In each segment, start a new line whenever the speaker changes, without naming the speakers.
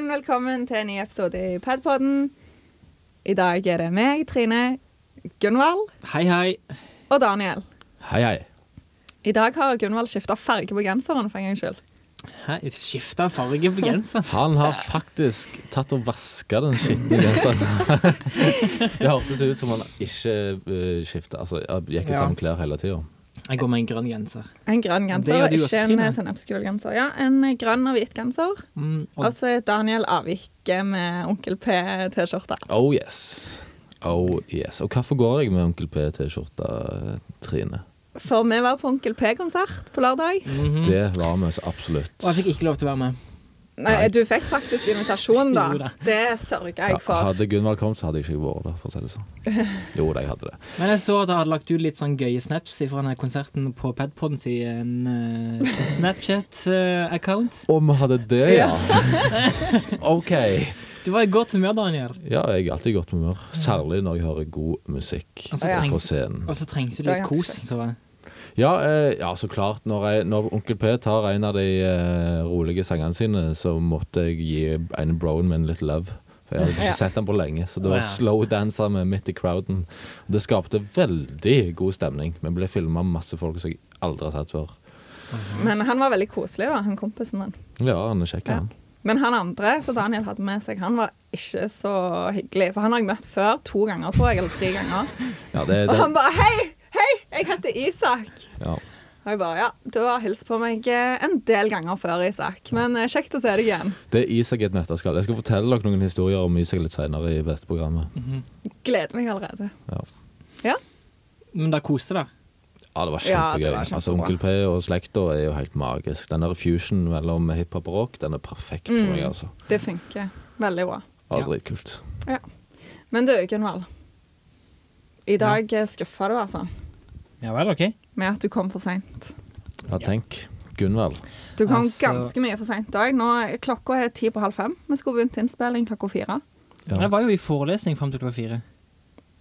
velkommen til en ny episode i Padpodden. I dag er det meg, Trine, Gunvald
Hei, hei.
og Daniel.
Hei, hei.
I dag har Gunvald skifta farge på genseren for en gangs skyld.
Hæ? Skifta farge på genseren.
Han har faktisk tatt og vaska den skitne genseren. det hørtes ut som han ikke uh, skifta Altså, han gikk i
Ja.
samme klær hele tida.
Jeg går med en grønn genser.
En grønn genser,
gjør
og
du
ikke
også,
en
Trine.
eh, sånn obskul genser. Ja, en eh, grønn og hvit genser.
Mm, og
Og så er Daniel avviket med Onkel P-T-skjorte.
Oh yes. Oh yes. Og hvorfor går jeg med Onkel P-T-skjorta, Trine?
For vi var på Onkel P-konsert på lørdag.
mhm.
Det var vi så absolutt.
Og jeg fikk ikke lov til å være med.
Nei,
Nei.
du fikk faktisk invitasjon,
Jo da.
da. Det sørga jeg
Ja,
for.
Hadde Gunvald kommet, så hadde jeg ikke vært der, for å si det sånn. Jo da, jeg hadde det.
Men jeg så at jeg hadde lagt ut litt sånn gøye snaps fra denne konserten på Padpodden sin eh, Snapchat-account.
Om vi hadde det, ja. OK.
du var i godt humør, Daniel.
Ja, jeg er alltid i godt humør. Særlig når jeg hører god musikk
Altså, tenk-
på scenen.
Og så trengte du
Det er
litt
ganske
kos.
kjekt.
Så jeg.
Ja, eh, ja så klart. Når, jeg, når Onkel P tar en av de eh, rolige sangene sine, så måtte jeg gi en brown min litt love. For jeg hadde ikke
Ja.
sett den på lenge, så det
Å, ja.
var slow dancer med midt i crowden. Det skapte veldig god stemning. Vi ble filma masse folk som jeg aldri har tatt før.
Men han var veldig koselig, da, han kompisen din.
Ja, han er kjekk,
Ja.
han.
Men han andre som Daniel hadde med seg, han var ikke så hyggelig. For han har jeg møtt før to ganger, tror jeg, eller tre ganger.
Ja, det,
Og
det,
han bare Hei, hei, jeg heter Isak.
ja.
Og jeg bare Ja, du har hilst på meg eh, en del ganger før, Isak. Men eh, kjekt å se deg igjen.
det er Isak i et nøtteskall. Jeg skal fortelle dere noen historier om Isak litt seinere i dette programmet.
Gleder meg allerede.
Ja.
Ja.
Men da koste dere.
Ja, det var
Ja, det
kjempegøy.
var
altså,
kjempebra.
Onkel P og slekta er jo helt magisk. Den der fusionen mellom hiphop og rock, den er perfekt for meg, altså.
Det funker veldig bra.
Ja,
Ja.
dritkult.
Ja. Men du, Gunvald. I dag eh, skuffa du, altså,
Ja vel, OK.
med at du kom for seint.
Ja, tenk. Gunvald.
Du kom
Altså-
ganske mye for seint òg. Klokka er ti på halv fem. Vi skulle begynt innspilling klokka fire.
Ja.
Jeg var jo i forelesning fram til klokka fire.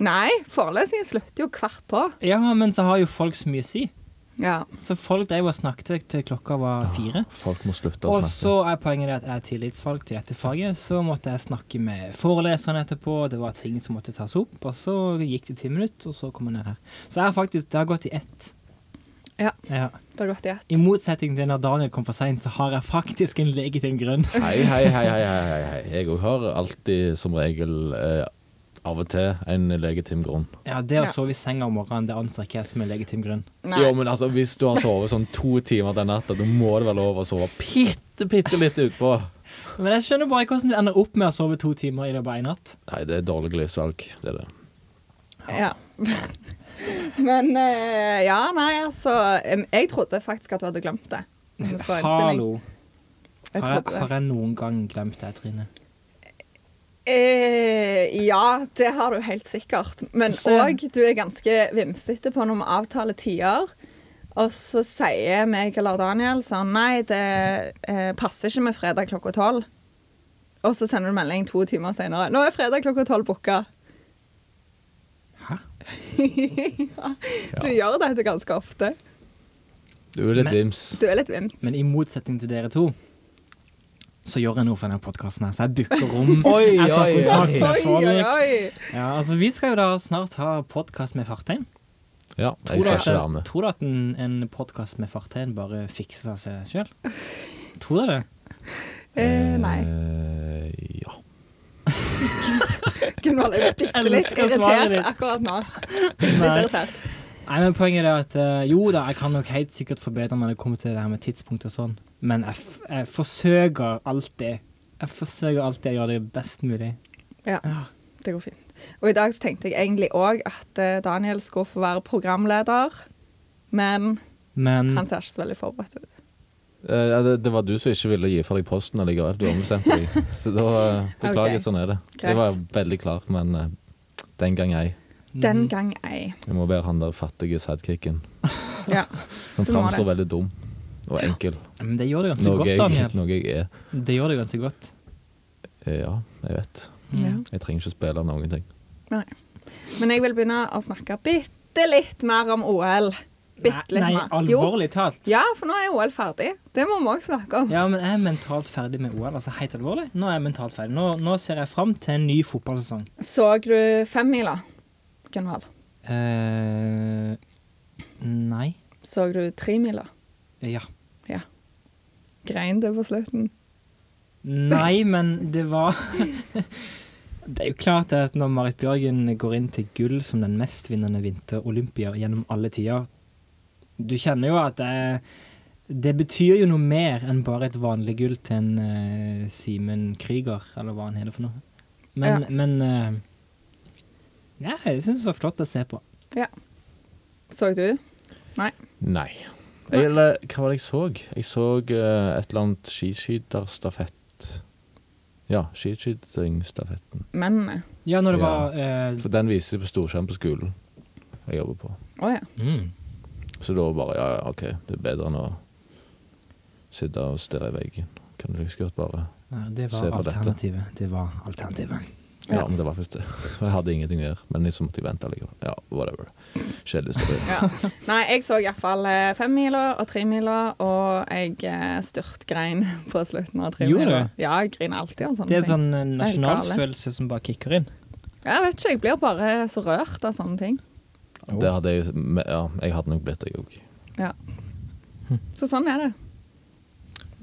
Nei, forelesningen slutter jo kvart på.
Ja, men så har jo folk så mye å si.
Ja.
Så folk drev og snakket til klokka var fire.
Folk må slutte å
Og
snakke.
så er poenget det at jeg er tillitsvalgt til dette faget, så måtte jeg snakke med foreleserne etterpå, det var ting som måtte tas opp, og så gikk det ti minutter, og så kom jeg ned her. Så jeg har faktisk, det har gått i ett.
Ja.
Ja.
Det har gått i ett.
I motsetning til når Daniel kom for seint, så har jeg faktisk en legitim grunn.
Hei, hei, hei, hei, hei, hei, hei. Jeg òg har alltid, som regel, eh, av og til en legitim grunn.
Ja, det å
Ja.
sove i senga om morgenen, det anser ikke jeg som en legitim grunn.
Nei.
Jo, men altså, hvis du har sovet sånn to timer den natta, da må det være lov å sove bitte, bitte litt utpå.
Men jeg skjønner bare ikke hvordan du ender opp med å sove to timer i løpet av en natt.
Nei, det er dårlig livsvalg. Det er det.
Ja. men eh, ja, nei, altså em, Jeg trodde faktisk at du hadde glemt det. Når vi skulle ha innspilling.
Hallo.
Jeg
Har jeg,
trodde
har
det.
jeg noen gang glemt deg, Trine?
Eh, ja, det har du helt sikkert. Men
Se.
òg, du er ganske vimsete på når vi avtaler tider. Og så sier meg eller Daniel sånn Nei, det eh, passer ikke med fredag klokka tolv. Og så sender du melding to timer senere. Nå er fredag klokka tolv booka.
Hæ?
Du gjør dette ganske ofte.
Du er litt
Men-
vims.
Du er litt vims.
Men i motsetning til dere to, så gjør jeg noe for denne podkasten her. Så jeg booker rom.
Oi,
jeg tar
oi,
kontakt
oi.
Oi,
med
oi,
folk.
oi!
Ja, altså, vi skal jo da snart ha podkast med Fartein.
Ja, jeg
Tror du
skal
at,
ikke være med.
tror du at en, en podkast med Fartein bare fikser seg sjøl? Tror dere det?
Eh, nei.
Eh, ja.
Gunvald er bitte litt
Elsker svaret
irritert
ditt.
akkurat nå. Bitte litt
Nei.
irritert.
Nei, men Poenget er at eh, jo da, jeg kan nok helt sikkert forbedre meg når det kommer til det her med tidspunkt og sånn, men jeg, f jeg forsøker alltid. Jeg forsøker alltid å gjøre det best mulig.
Ja, det går fint. Og i dag så tenkte jeg egentlig òg at eh, Daniel skulle få være programleder, men
Men
han ser ikke så veldig forberedt ut.
Eh, ja, det, det var du som ikke ville gi fra deg posten allikevel. Du ombestemte deg. Så da eh, beklager,
Ok.
sånn er det.
Greit.
Jeg var veldig klar, men eh, den gang ei.
Mm.
Den gang ei.
Jeg må være han der fattige sidekicken.
Ja.
Som
Du må
framstår
det.
veldig dum og enkel.
men det gjør det ganske
Noe
godt,
jeg,
Daniel.
noe jeg er.
Det gjør det ganske godt.
Eh, Ja, jeg vet.
Mm.
ja.
Jeg trenger ikke spille noen ting.
Nei. Men jeg vil begynne å snakke bitte litt mer om OL Bitte litt
Nei,
mer. Jo.
alvorlig talt.
Ja, for nå er OL ferdig. Det må vi òg snakke om.
Ja, men jeg er mentalt ferdig med OL. altså Helt alvorlig. Nå er jeg mentalt ferdig. Nå, nå ser jeg fram til en ny fotballsesong.
Så du femmila, Gunvald?
eh nei.
Så du tremila?
Ja.
Grein du på slutten?
Nei, men det var Det er jo klart at når Marit Bjørgen går inn til gull som den mestvinnende vinter-Olympia gjennom alle tider Du kjenner jo at det, det betyr jo noe mer enn bare et vanlig gull til en eh, Simen Krüger, eller hva han heter for noe. Men, men eh, ja, jeg syns det var flott å se på.
Så du?
Nei. Jeg, eller hva var det jeg så? Jeg så eh, et eller annet skiskytterstafett. Ja, skiskytingstafetten.
Mennene?
Ja, når det
Ja.
var eh,
For den viser de på Storskjerm på skolen jeg jobber på.
Å ja.
mm.
Så da bare ja, ja, OK, det er bedre enn å sitte og stirre i veggen. Kan du like så godt bare
Nei, Det
Se
var
på dette.
alternativet. Det var alternativet.
Ja,
Ja.
men det var faktisk det. Og Jeg hadde ingenting å gjøre, men liksom måtte jeg vente likevel. Ja, whatever. Kjedelig historie.
ja. Nei, jeg så iallfall femmila eh, og tremila, og jeg eh, styrtgrein på slutten av tremila.
Gjorde
Ja, jeg griner alltid av sånne
Det er
ting.
sånn eh, nasjonalfølelse som bare kicker inn.
Jeg vet ikke, jeg blir bare så rørt av sånne ting.
Det hadde jeg, ja, jeg hadde nok blitt det, jeg òg.
Så sånn er det.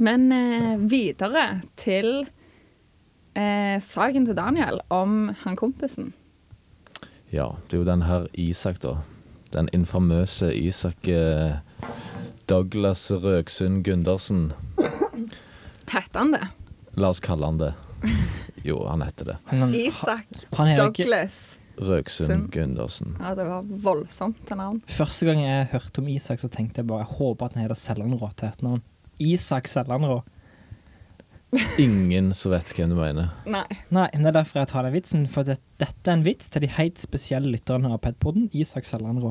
Men eh, videre til eh, saken til Daniel om han kompisen.
Ja, det er jo den her Isak, da. Den infamøse Isak eh, Douglas Røksund Gundersen.
Hette han det?
La oss kalle han det. Jo, han heter det.
Han,
Isak
han er jo ikke,
Douglas. Sund.
Røksund Gundersen.
Ja, det var voldsomt til navn.
første gang jeg hørte om Isak, så tenkte jeg bare jeg håper at han heter Sellanrå til et navn. Isak Sellanrå.
Ingen som vet hvem du mener.
Nei.
Nei, men det er derfor jeg tar den vitsen. For det, dette er en vits til de helt spesielle lytterne av Pedpoden. Isak Sellanrå.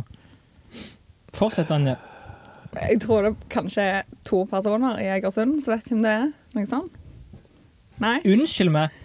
Fortsett, Anja.
Jeg tror det er kanskje to personer i Egersund som vet hvem det er. Noe sånt. Nei?
Unnskyld meg.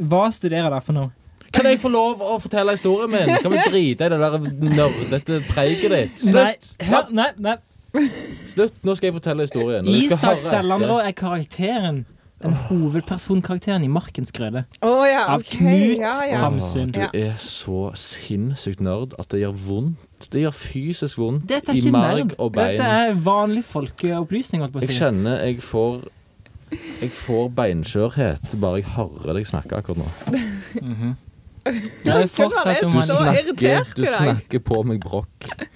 Hva studerer dere for noe?
Kan jeg få lov å fortelle historien min? Kan vi drite i det der nør- dette preiket ditt? Slutt!
Nei, hør, nei, nei.
Slutt! Nå skal jeg fortelle historien. og du skal
Isak
høre etter.
Sellanrå er karakteren. Den hovedpersonkarakteren i Markens grøde.
Å ja,
Av
OK.
Knut
Ja, ja.
Ham- Hamsun.
Åh,
Ja.
Du er så sinnssykt nerd at det gjør vondt. Det gjør fysisk vondt
Dette er
i
ikke
marg
nerd.
og bein.
Dette er vanlig folkeopplysning. holdt på å
Jeg
si.
kjenner jeg får jeg får beinskjørhet bare jeg hører deg snakke akkurat nå.
Det er fortsatt om
Du
Du
er så
han-
snakker,
irritert
du
i dag.
snakker på meg brokk.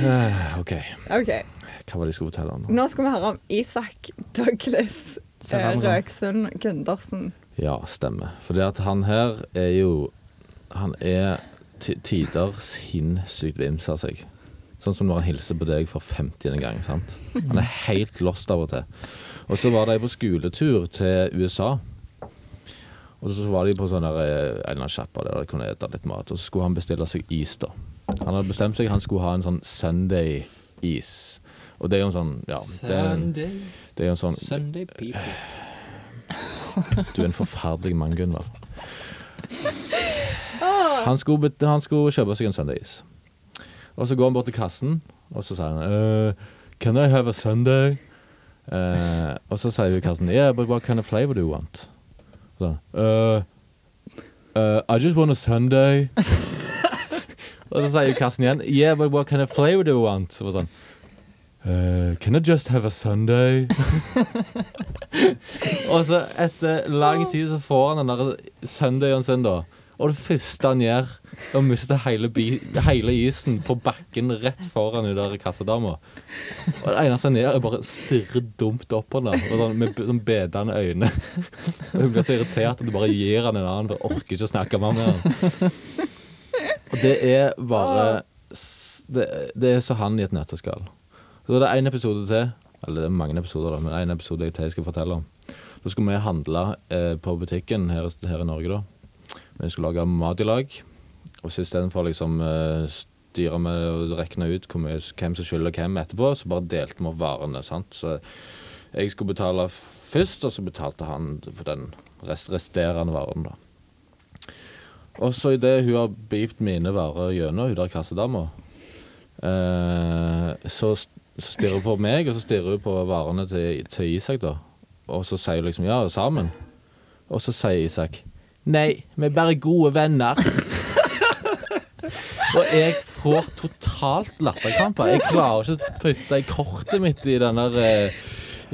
Eh, OK,
OK.
hva var det jeg skulle fortelle om?
Nå skal vi høre om Isak Douglas eh,
Sellanrå.
Røksund Gundersen.
Ja, stemmer. For det at han her er jo Han er til tider sinnssykt vims av seg. Sånn som når han hilser på deg for 50. gang. sant? Han er helt lost av og til. Og så var de på skoletur til USA. Og så var de på sånn der, eh, en eller annen sjappa der de kunne ete litt mat. Og så skulle han bestille seg is, da. Han hadde bestemt seg han skulle ha en sånn Sunday-is. Og det er jo en sånn Ja, det er, en- det er jo en sånn
Sunday people.
Du er en forferdelig mann, Gunvald. Han skulle, bet- han skulle kjøpe seg en søndagis. Og så går han bort til kassen, og så sier han uh, Can I have a Sunday? Eh, og så sier hun i kassen Yeah, but what kind of flavor do you want? Og Så, uh, uh, I just want a Sunday. og så sier hun i kassen igjen Yeah, but what kind of flavor do you want? Og sånn «Eh, Can I just have a Sunday? Og så etter lang tid så får han den der søndagen sin, da. Og det første han gjør, er å miste hele, bi hele isen på bakken rett foran hun der kassadama. Og det eneste han gjør, er bare å stirre dumt opp på henne og sånn, med b- sånn bedende øyne. Og hun blir så irritert at du bare gir han en annen, for jeg orker ikke å snakke mer med han. Og det er bare s- Det, det er så han i et nøtteskall. Så det er én episode til, eller det er mange episoder, da, men en episode til jeg skal fortelle om. Så skulle vi handle eh, på butikken her, her i Norge, da. Vi skulle lage mat i lag. Og så istedenfor å liksom, eh, styre med og regne ut hvor mye, hvem som skylder hvem etterpå, så bare delte vi opp varene. sant? Så jeg skulle betale først, og så betalte han for den rest resterende varen, da. Og så idet hun har beept mine varer gjennom hun der kassedama, Eh, så, s- så stirrer hun på meg, og så stirrer hun på varene til, til Isak, da. Og så sier hun liksom ja, sammen. Og så sier Isak nei, vi er bare gode venner. og jeg får totalt latterkrampe. Jeg klarer ikke å putte i kortet mitt i den der eh,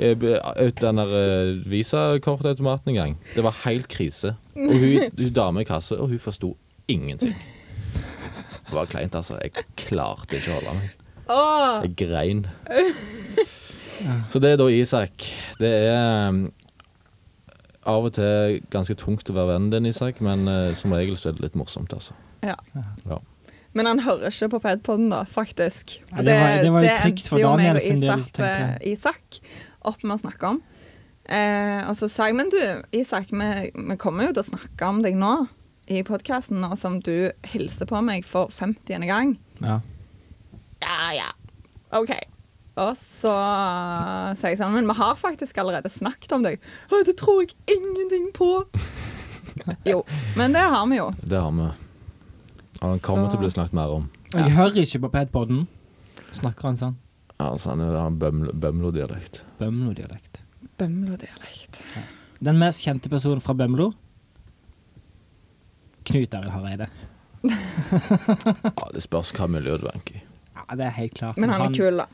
eh, be- ut den der eh, visakortautomaten engang. Det var helt krise. Og hun, hun dame i kassa, og hun forsto ingenting. Det var kleint, altså. Jeg klarte ikke å holde meg.
Åh,
Jeg grein. Så det er da Isak. Det er um, av og til ganske tungt å være vennen din, Isak, men eh, som regel så er det litt morsomt, altså.
ja.
Ja.
Men han hører ikke på Pedpodden, da, faktisk.
Ja, det var- det var jo trygt
endte
for
jo meg
Daniel
og
sin del,
Isak- eh,
tenker
Isak opp med å snakke om. Eh, og så sa jeg, men du, Isak, vi, vi kommer jo til å snakke om deg nå i podkasten, nå som du hilser på meg for 50. gang.
Ja.
Ja, ja. OK. Og så sier jeg sånn, men vi har faktisk allerede snakket om deg. Å, det tror jeg ingenting på. jo, men det har vi jo.
Det har vi. Og han kommer
Så-
til å bli snakket mer om.
Jeg hører ikke på padpoden. Snakker han sånn?
Altså, han har Bømlo-dialekt.
Bømlo-dialekt.
Bømlo-dialekt.
Den mest kjente personen fra Bømlo? Knut Arild Hareide.
Ja, det spørs hva miljø du vanker i.
Ja, det er helt klart.
Men han er kul, da.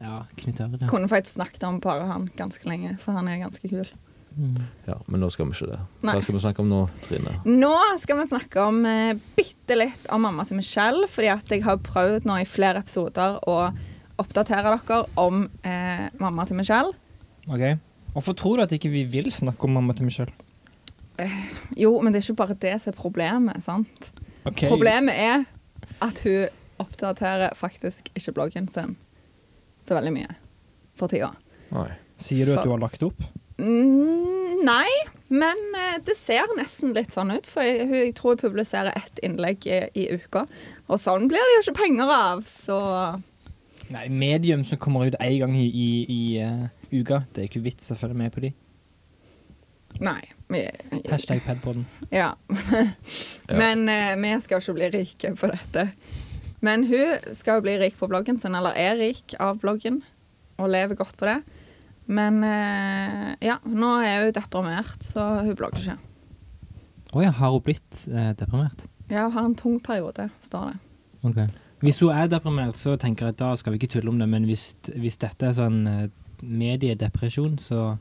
Ja, Knut Arild. ja.
Kunne faktisk snakket om bare han ganske lenge, for han er ganske kul.
Mm.
Ja, men nå skal vi ikke det.
Nei.
Hva skal vi snakke om nå, Trine?
Nå skal vi snakke om eh, bitte litt om mamma til Michelle, fordi at jeg har prøvd nå i flere episoder å oppdatere dere om eh, mamma til Michelle.
Ok. Hvorfor tror du at ikke vi vil snakke om mamma til Michelle?
Jo, men det er ikke bare det som er problemet, sant?
Ok.
Problemet er at hun oppdaterer faktisk ikke bloggen sin så veldig mye for tida.
Nei.
Sier du at du har lagt opp?
Mm, nei, men eh, det ser nesten litt sånn ut. For jeg, hun- jeg tror jeg publiserer ett innlegg i, i uka. Og sånn blir det jo ikke penger av, så
Nei, medium som kommer ut én gang i, i, i eh, uka. Det er ikke vits å følge med på de.
Nei. Vi,
Hashtag E padpoden.
ja. Men eh, vi skal jo ikke bli rike på dette. Men hun skal jo bli rik på bloggen sin, eller er rik av bloggen, og lever godt på det. Men eh, ja, nå er hun deprimert, så hun blogger ikke.
Å ja, har hun blitt eh, deprimert?
Ja, hun har en tung periode, står det.
Ok. Hvis hun er deprimert, så tenker jeg at da skal vi ikke tulle om det, men hvis, hvis dette er sånn eh, mediedepresjon, så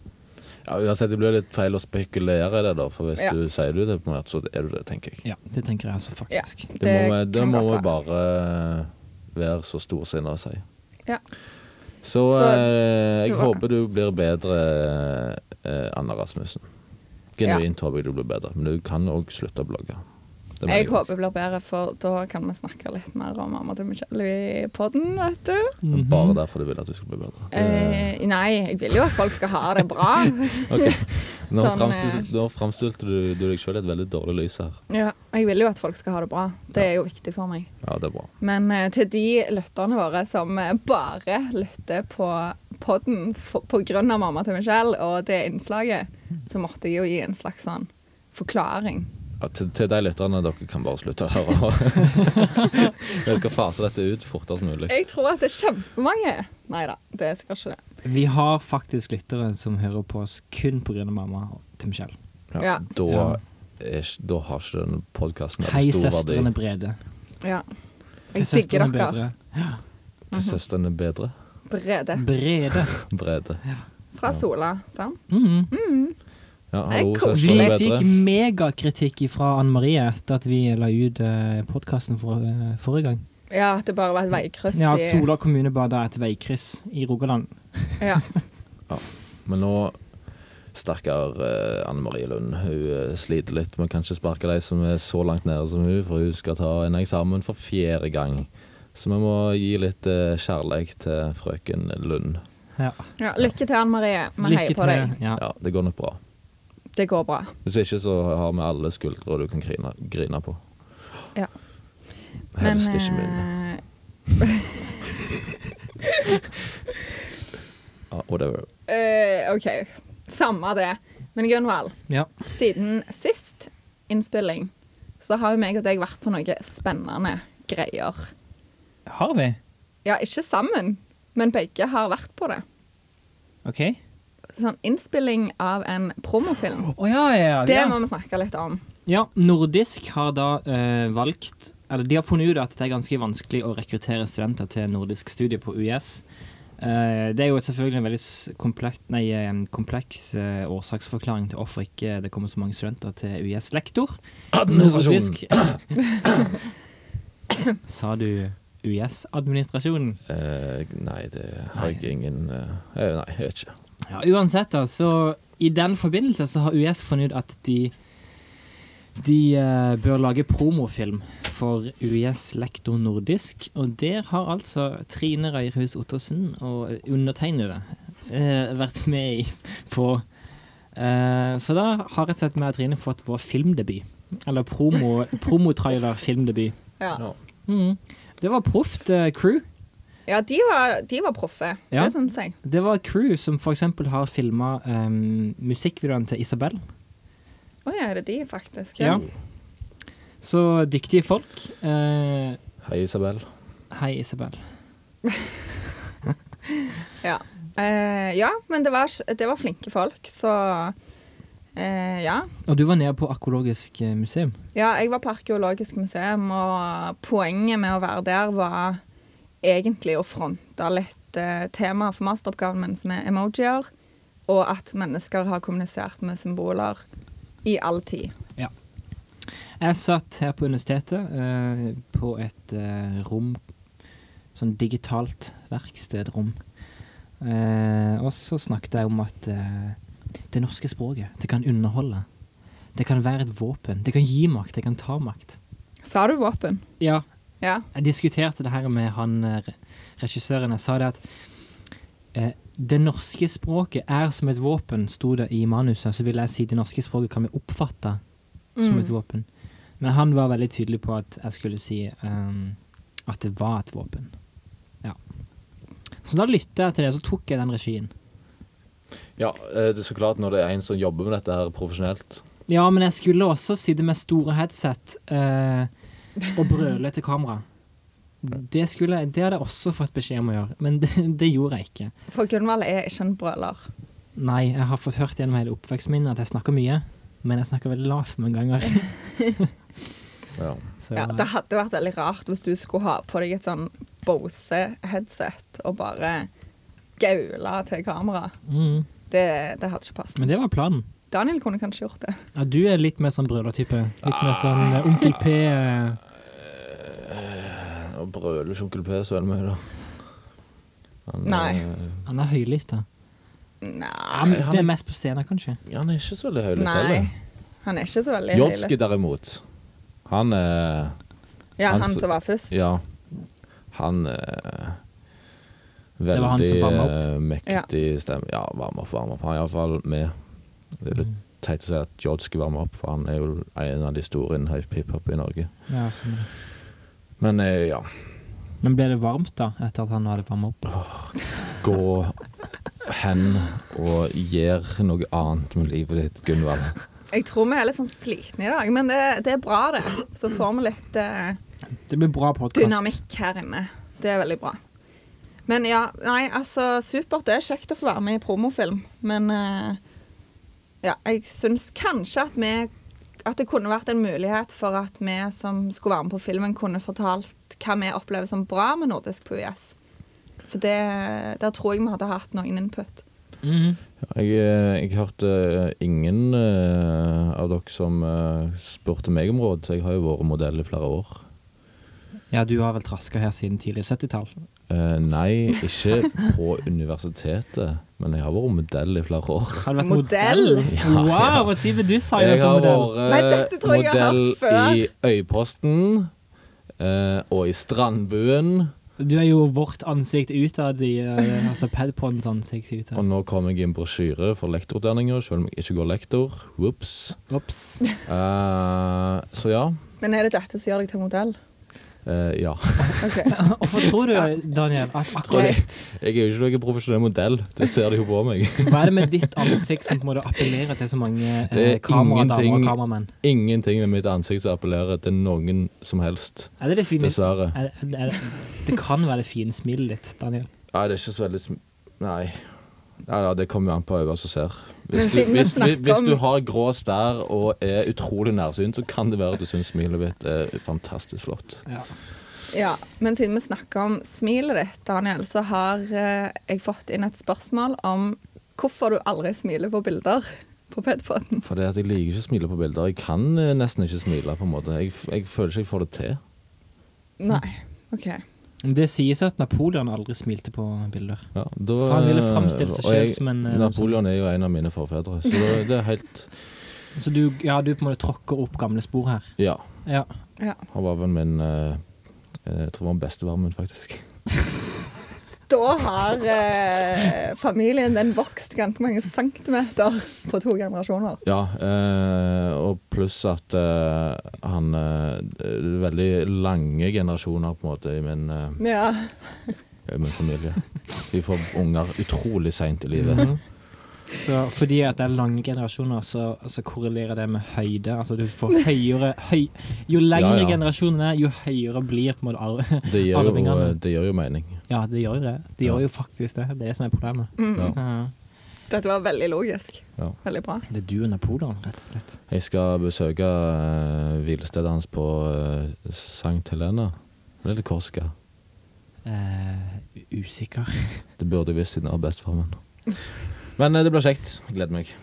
Ja, uansett, det blir litt feil å spekulere i det, da. For hvis
Ja.
du sier du er deprimert, så er du det, tenker jeg.
Ja, det tenker jeg altså faktisk.
Ja,
Det må vi, det
kan
må
godt
vi
være.
bare eh, være så storsinna og si.
Ja.
Så,
Så
eh, jeg
det var-
håper du blir bedre, eh, Anna Rasmussen. Genuint håper jeg du blir bedre, men du kan òg slutte å blogge. Det mener
Jeg
jeg.
håper det blir bedre, for da kan vi snakke litt mer om mamma til Michelle i podden, vet du.
Mhm.
Bare derfor du vil at du skal bli bedre. Det-
Eh, nei, jeg vil jo at folk skal ha det bra.
Ok. Nå,
sånn,
framstilte, nå framstilte du, du deg sjøl i et veldig dårlig lys her.
Ja, jeg vil jo at folk skal ha det bra. Det er jo viktig for meg.
Ja, det er bra.
Men eh, til de lytterne våre som eh, bare lytter på podden for, på grunn av mamma til Michelle og det innslaget, så måtte jeg jo gi en slags sånn forklaring.
Ja, til, til de lytterne, dere kan bare slutte å høre. Jeg skal fase dette ut fortest mulig.
Jeg tror at det er kjempemange. Nei da, det er sikkert ikke det.
Vi har faktisk lyttere som hører på oss kun pga. mamma til Michelle.
Ja,
Ja.
Da,
Ja.
Er, ikke- da har ikke den podkasten
Hei,
stor
søstrene
verdi.
Brede.
Ja.
Til
Jeg digger
søstrene
dere.
Til søstrene bedre.
Brede.
Brede. Brede.
Brede.
Fra Sola, sant?
Mm.
Ja,
Nei,
hallo,
kos-
Vi
søstrene
fikk
sånn bedre.
megakritikk fra Anne Marie etter at vi la ut eh, podkasten for, eh, forrige gang.
Ja, at det bare var et veikryss
Ja, At
i-
Sola kommune ba da et veikryss i Rogaland.
Ja.
Men nå Stakkar eh, Anne Marie Lund. Hun eh, sliter litt. Vi kan ikke sparke de som er så langt nede som hun, for hun skal ta en eksamen for fjerde gang. Så vi må gi litt eh, kjærlighet til frøken Lund.
Ja.
ja. Lykke til, Anne Marie. Vi heier på deg.
Ja.
Ja, det går nok bra.
Det går bra.
Hvis ikke så har vi alle skuldre du kan grine, grine på.
Ja.
Helst ikke mine.
eh,
Ja, Ah, whatever.
eh, OK. Samme det. Men Gunvald,
Ja.
siden sist innspilling så har jo meg og deg vært på noe spennende greier.
Har vi?
Ja, ikke sammen, men begge har vært på det.
OK?
Sånn innspilling av en promofilm.
Å ja, ja, ja.
Det
ja.
må vi snakke litt om.
Ja, Nordisk har da eh, valgt Eller de har funnet ut at det er ganske vanskelig å rekruttere studenter til nordisk studie på UiS. Eh, det er jo selvfølgelig en veldig s- komplekt, nei, eh, kompleks eh, årsaksforklaring til hvorfor ikke det kommer så mange studenter til UiS lektor. Nordisk Sa du UiS-administrasjonen?
Eh, nei, det har jeg ingen eh, eh, Nei, jeg vet ikke.
Ja, uansett da, så i den forbindelse så har US funnet ut at de de eh, bør lage promofilm for UiS Lektor Nordisk, og der har altså Trine Røyrhus Ottersen og undertegnede eh, vært med i på eh, Så da har rett og slett vi og Trine fått vår filmdebut. Eller promo, promotrailer-filmdebut.
Ja,
Ja.
Mm. Det var proft eh, crew.
ja de, var, de var proffe.
Ja.
Det syns jeg.
Det var crew som f.eks. har filma um, musikkvideoen til Isabel.
Å ja, er det de, faktisk?
Ja. Så dyktige folk. Eh,
Hei, Isabel.
hei, Isabel.
Eh, ja, men det var, det var flinke folk, så eh, ja.
Og du var nede på Arkeologisk eh, museum.
Ja, jeg var på Arkeologisk museum, og poenget med å være der var egentlig å fronte litt eh, temaet for masteroppgaven min, som er emojier, og at mennesker har kommunisert med symboler i all tid.
Jeg satt her på universitetet eh, på et eh, rom Sånn digitalt verkstedrom. Eh, og så snakket jeg om at eh, det norske språket, det kan underholde. Det kan være et våpen. Det kan gi makt, det kan ta makt.
Sa du våpen?
Ja,
Ja.
Jeg diskuterte det her med han eh, re- regissøren. Jeg sa det at eh, det norske språket er som et våpen, sto det i manuset. Så ville jeg si det norske språket kan vi oppfatte som
Mm.
et våpen. Men han var veldig tydelig på at jeg skulle si ehm, at det var et våpen. Ja. Så da lytta jeg til det, så tok jeg den regien.
Ja, eh, det er så klart når det er en som jobber med dette her profesjonelt.
Ja, men jeg skulle også sitte med store headset eh, og brøle til kamera. Det, skulle, jeg- det hadde jeg også fått beskjed om å gjøre, men det, det gjorde jeg ikke.
For Gunvald er ikke en brøler.
Nei, jeg har fått hørt gjennom hele oppveksten min at jeg snakker mye, men jeg snakker veldig lavt mange ganger.
Ja.
Så,
Ja,
eh,
det hadde vært veldig rart hvis du skulle ha på deg et sånn Bose-headset og bare gaule til kamera.
mm,
Det, det hadde ikke passet.
men det var planen.
Daniel kunne kanskje gjort det.
Ja, du er litt mer sånn brølertype. Litt mer sånn eh, Onkel P. eh,
Og brøler ikke Onkel P så veldig mye, da. Han,
Nei.
eh,
Han er høylytt, da.
Nei.
Ja, men det er mest på scenen, kanskje.
han er ikke så veldig høylytt
Nei.
heller.
Han er ikke så veldig
Jodski
høylytt.
derimot, han eh,
Ja, han
Han s-
som var først.
altså, Ja. Han eh,
var han som
Veldig
varma opp.
eh, mektig stemme. Ja, varme opp, varme opp. Han er iallfall med. Det
Mm.
er litt teit å si at Jodski varmer opp, for han er jo en av de store innen hip- hiphop i Norge.
Ja, sånn. er det.
Men eh, ja.
Men ble det varmt, da, etter at han hadde varma opp?
gå hen og gjør noe annet med livet ditt, Gunvald.
Jeg tror vi er litt sånn slitne i dag, men det, det er bra, det. Så får vi litt eh,
Det blir bra podkast.
dynamikk her inne. Det er veldig bra. Men ja, nei, altså supert. Det er kjekt å få være med i promofilm, men eh, ja, jeg syns kanskje at vi at det kunne vært en mulighet for at vi som skulle være med på filmen, kunne fortalt hva vi opplever som bra med nordisk på US. For det, der tror jeg vi hadde hatt noen input.
Mhm.
Jeg, eh, jeg hørte ingen eh, av dere som eh, spurte meg om råd. Jeg har jo vært modell i flere år.
Ja, du har vel traska her siden tidlig 70-tall?
Eh, nei, ikke på universitetet, men jeg har vært modell i flere år.
Har du vært
Modell?
Ja, ja.
Wow, når ble du signa
Jeg
som
har
modell?
Nei,
vært eh,
dette tror jeg jeg har
modell
hørt før.
i Øyposten eh, og i Strandbuen.
Du er jo vårt ansikt utad i eh, Altså Padpons ansikt utad.
Og nå kom jeg i en brosjyre for lektorutdanninga, selv om jeg ikke går lektor. Whoops.
Ops.
Eh, så ja.
Men er det dette som gjør deg til modell?
Eh, ja.
Ok.
Hvorfor tror du, Daniel, at akkurat
Greit.
Jeg er jo ikke noen profesjonell modell, det ser de jo på meg.
Hva er det med ditt ansikt som på en måte appellerer til så mange eh,
Det er
kameradamer og
ingenting-
kameramenn?
Ingenting med mitt ansikt som appellerer til noen som helst,
Er det det fine
dessverre.
er, er, er, Det kan være det fine smilet ditt, Daniel.
Nei, det er ikke så veldig sm Nei. Nei, ja, det kommer jo an på øyet som ser.
Men
Hvis du,
siden vi
hvis,
snakker
hvis du
om-
har grå stær og er utrolig nærsynt, så kan det være at du syns smilet mitt er fantastisk flott.
Ja.
Ja, men siden vi snakker om smilet ditt, Daniel, så har eh, jeg fått inn et spørsmål om hvorfor du aldri smiler på bilder på Pedpoden.
For det at jeg liker ikke å smile på bilder. Jeg kan eh, nesten ikke smile, på en måte. Jeg, f- jeg føler ikke jeg får det til.
Nei, OK.
Men Det sies at Napoleon aldri smilte på bilder.
Ja, da,
For han ville fremstille seg
og jeg-
selv som en, eh,
Napoleon er jo en av mine forfedre, så det, det er helt
Så du, ja, du på en måte tråkker opp gamle spor her.
Ja.
Ja.
Ja.
Han var vel min eh, Jeg tror han var bestefaren min, faktisk.
Da har eh, familien den vokst ganske mange centimeter på to generasjoner.
Ja, eh, og pluss at eh, han eh, det er Veldig lange generasjoner, på en måte, i min, eh,
Ja.
i min familie. Vi får unger utrolig seint i livet.
Mhm. Så fordi at det er lange generasjoner, så, så korrelerer det med høyde. Altså du får høyere høy, Jo lengre
Ja, ja.
generasjonen er, jo høyere blir på en måte arv.
Det gir jo, eh,
Arvingene.
det gir jo mening.
Ja, det gjør jo det. Det gjør jo faktisk det. Det er det som er problemet.
Mm.
Ja.
Ja.
Dette var veldig logisk.
Ja.
Veldig bra.
Det er du og Napoleon, rett og slett.
Jeg skal besøke eh, hvilestedet hans på eh, Sankt Helena. Eller Korska.
Eh, usikker.
Det burde jeg visst siden jeg har bestefar min. Men eh, det blir kjekt. Jeg Gleder meg.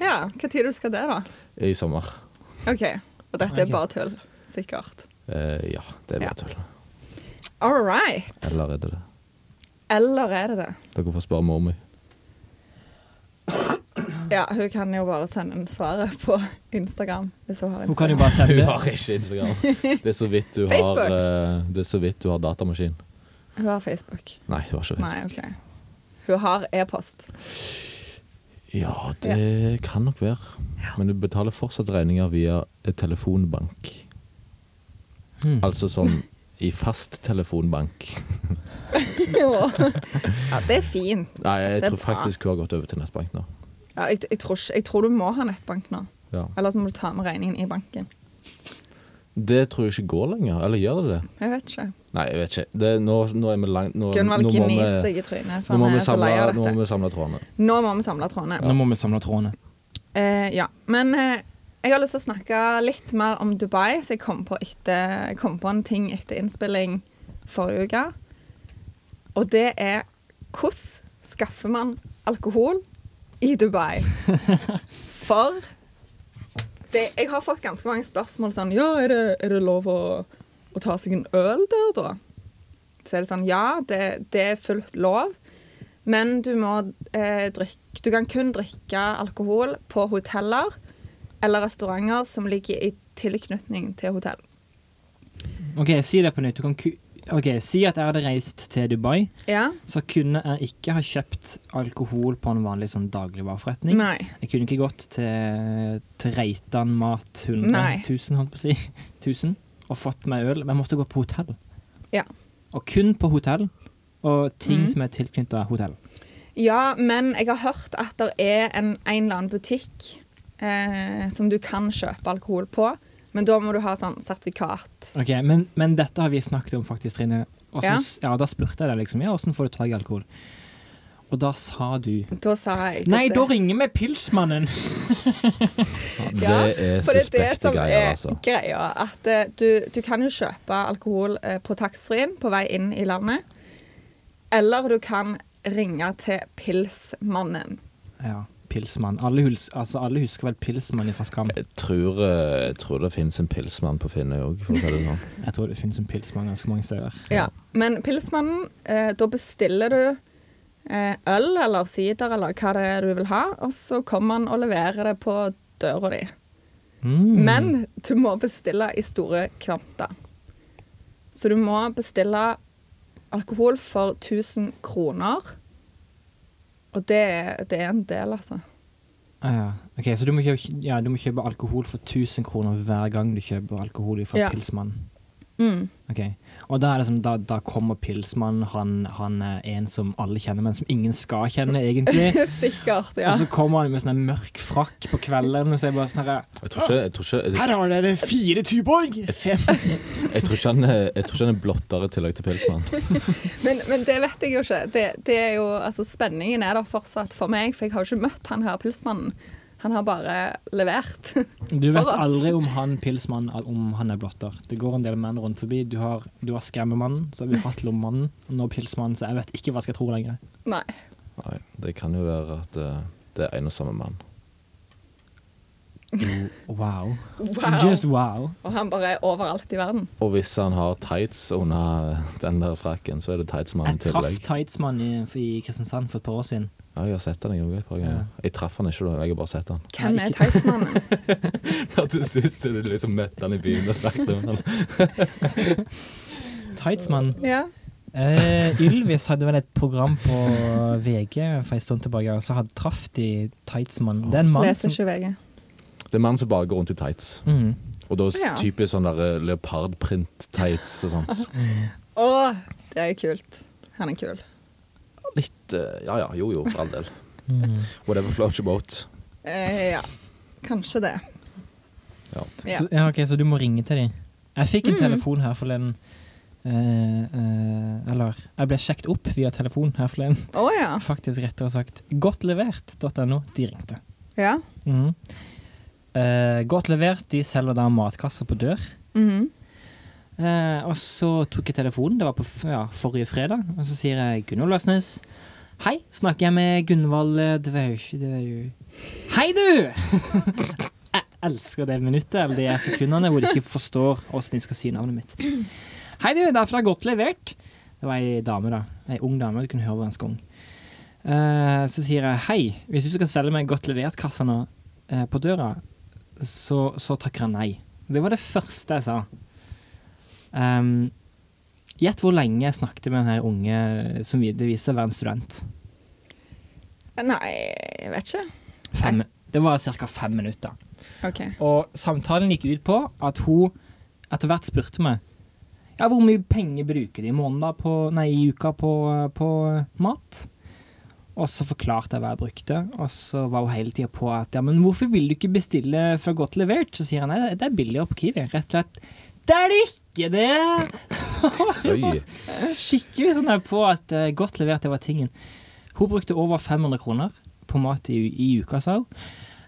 Ja, hva tid du skal det, da?
I sommer.
OK. Og dette er
Ok.
bare tull, sikkert.
Eh, ja, det er
Ja.
bare tull.
All right.
Eller er det det?
Eller er det det?
Dere får spørre mor mi.
Ja, hun kan jo bare sende en svaret på Instagram. Hvis hun har Instagram.
Hun kan jo bare
Hun
sende
har ikke Instagram. Det er så vidt du har,
Facebook.
eh, det er så vidt du har datamaskin.
Hun har Facebook.
Nei, hun har ikke det.
Nei, OK. Hun har e-post.
Ja, det kan nok være. Men du betaler fortsatt regninger via telefonbank.
Hmm.
Altså som i fast telefonbank.
Jo. ja, det er fint.
Nei, jeg
Det er
tror
bra.
faktisk hun har gått over til nettbank nå.
Ja, jeg, jeg, tror ikke, jeg tror du må ha nettbank nå.
Ja.
Ellers må du ta med regningen i banken.
Det tror jeg ikke går lenger. Eller gjør det det?
Jeg vet ikke.
Nei, jeg vet ikke. Det, nå, nå er vi langt Nå, nå,
Gunvald
må, vi,
gnir seg i trynet,
nå,
for
må,
han
vi
er så
samle,
lei av
nå må
dette.
vi samle trådene.
Nå må vi samle trådene.
Nå må vi samle trådene.
Eh, ja. Men eh, jeg har lyst til å snakke litt mer om Dubai, så jeg kom på, etter, jeg kom på en ting etter innspilling forrige uke. Og det er hvordan skaffer man alkohol i Dubai? For det, jeg har fått ganske mange spørsmål sånn Ja, er det, er det lov å, å ta seg en øl der, da? Så er det sånn Ja, det, det er fullt lov. Men du må eh, drikke Du kan kun drikke alkohol på hoteller eller restauranter som ligger i tilknytning til hotell.
OK, si det på nytt. Du kan ku OK, si at jeg hadde reist til Dubai,
Ja?
så kunne jeg ikke ha kjøpt alkohol på en vanlig sånn dagligvareforretning.
Nei.
Jeg kunne ikke gått til, til Reitan Mat 100
Nei.
1000, holdt på å si. 1000, og fått meg øl. Men jeg måtte gå på hotell.
Ja.
Og kun på hotell, og ting
Mhm.
som er tilknyttet hotell.
Ja, men jeg har hørt at det er en, en eller annen butikk eh, som du kan kjøpe alkohol på, men da må du ha sånn sertifikat.
Ok, men, men dette har vi snakket om faktisk, Trine. Og så
Ja.
s- ja, da spurte jeg deg liksom, ja, hvordan får du tak i alkohol? Og da sa du
Da sa jeg
Nei,
dette-
da ringer vi pilsmannen!
Ja,
det
For
er
det er det
suspekte
som
greier,
er
altså.
greia. At eh, du, du kan jo kjøpe alkohol eh, på taxfree-en på vei inn i landet. Eller du kan ringe til Pilsmannen.
Ja, pilsmann. Alle, hus altså, alle husker vel pilsmann fra Skam.
Jeg tror, eh, jeg tror det finnes en pilsmann på Finnøy òg, for å si det sånn.
Jeg tror det finnes en pilsmann ganske mange steder.
Ja. Men Pilsmannen, eh, da bestiller du eh, øl eller sider eller hva det er du vil ha, og så kommer han og leverer det på døra di.
Mm.
Men du må bestille i store kvanta. Så du må bestille alkohol for 1000 kroner. Og det, er- det er en del, altså.
Ah, Ja. Ok, Så du må, kjøpe, ja, du må kjøpe alkohol for 1000 kroner hver gang du kjøper alkohol fra
Ja.
pilsmann.
Mm.
Ok, og da er det sånn, da, da kommer Pilsmann, han, han er en som alle kjenner, men som ingen skal kjenne egentlig.
Sikkert, ja.
Og så kommer han med sånn her mørk frakk på kvelden, og så er jeg bare sånn her,
Jeg tror ikke, jeg tror ikke, jeg,
her har dere fire Tuborg! Fem.
jeg tror ikke, han, er- jeg tror ikke han er blottere i tillegg til Pilsmann.
Men, men det vet jeg jo ikke. Det, det er jo, altså, spenningen er der fortsatt for meg, for jeg har jo ikke møtt han her pilsmannen. Han har bare levert.
Du vet
For oss.
aldri om han Pilsmann, al- om han er blotter. Det går en del menn rundt forbi. Du har, du har skremmemannen, så har vi hatt lommemannen, og nå Pilsmannen, så jeg vet ikke hva jeg skal tro lenger.
Nei.
Nei, det kan jo være at eh, det er en og samme mann.
Wow.
Wow.
Just wow.
Og han bare er overalt i verden.
Og hvis han har tights under den der frakken, så er det tightsmannen
Jeg
i
traff
tillegg.
Tightsmann i, i Kristiansand for et par år siden.
Ja, jeg har sett han jeg også et par ganger. Jeg traff han ikke da, jeg har bare sett han.
Hvem
Nei,
er
ikke-
tightsmannen?
At du syns du liksom møtte han i byen og snakket om han.
Tightsmann.
Ja.
Eh, Ylvis hadde vel et program på VG for en stund tilbake, og så hadde traff de Tightsmann. Det er en mann
Leser
som
ikke VG.
Det er en mann som bare går rundt i tights.
mm.
Og da
Ja.
typisk sånn der eh, leopardprint-tights og sånt.
Mm.
Å, det er kult. Han er kul.
Litt eh, Ja ja, jo jo, for all del.
Mm.
Whatever floats your boat.
Eh, ja, kanskje det. Ja.
Ja.
Så, ja, ok, så du må ringe til dem. Jeg fikk en telefon her forleden. Eh, eh, eller jeg ble sjekt opp via telefon her forleden.
Å ja.
Faktisk rettere sagt godtlevert.no. De ringte.
Ja.
Mhm. Eh, godt levert, de selger da matkasser på dør.
Mhm.
Eh, og så tok jeg telefonen, det var på f ja, forrige fredag, og så sier jeg Gunvor Løsnes. Hei, snakker jeg med Gunvald eh, Det var jo ikke det var jo... Hei, du! jeg elsker det minuttet, eller de sekundene, hvor de ikke forstår åssen de skal si navnet mitt. Hei, du, det er fra Godt levert. Det var ei dame, da. Ei ung dame, du kunne høre hun var ganske ung. Eh, så sier jeg hei, hvis du skal selge meg Godt levert-kassa nå eh, på døra, så, så takker jeg nei. Det var det første jeg sa. Ehm, Gjett hvor lenge jeg snakket med den her unge som vi- det viste seg å være en student.
Nei, jeg vet ikke.
Fem, det var ca. fem minutter.
OK.
Og samtalen gikk ut på at hun etter hvert spurte meg ja, hvor mye penger bruker de i måneden da på, nei, i uka på, på mat. Og så forklarte jeg hva jeg brukte, og så var hun hele tida på at ja, men hvorfor vil du ikke bestille fra godt levert? Så sier han nei, det er billigere på Kiwi. Rett og slett. Det er det ikke, det!
Oi.
skikkelig sånn her på at eh, godt levert det var tingen. Hun brukte over 500 kroner på mat i, i uka, sa hun.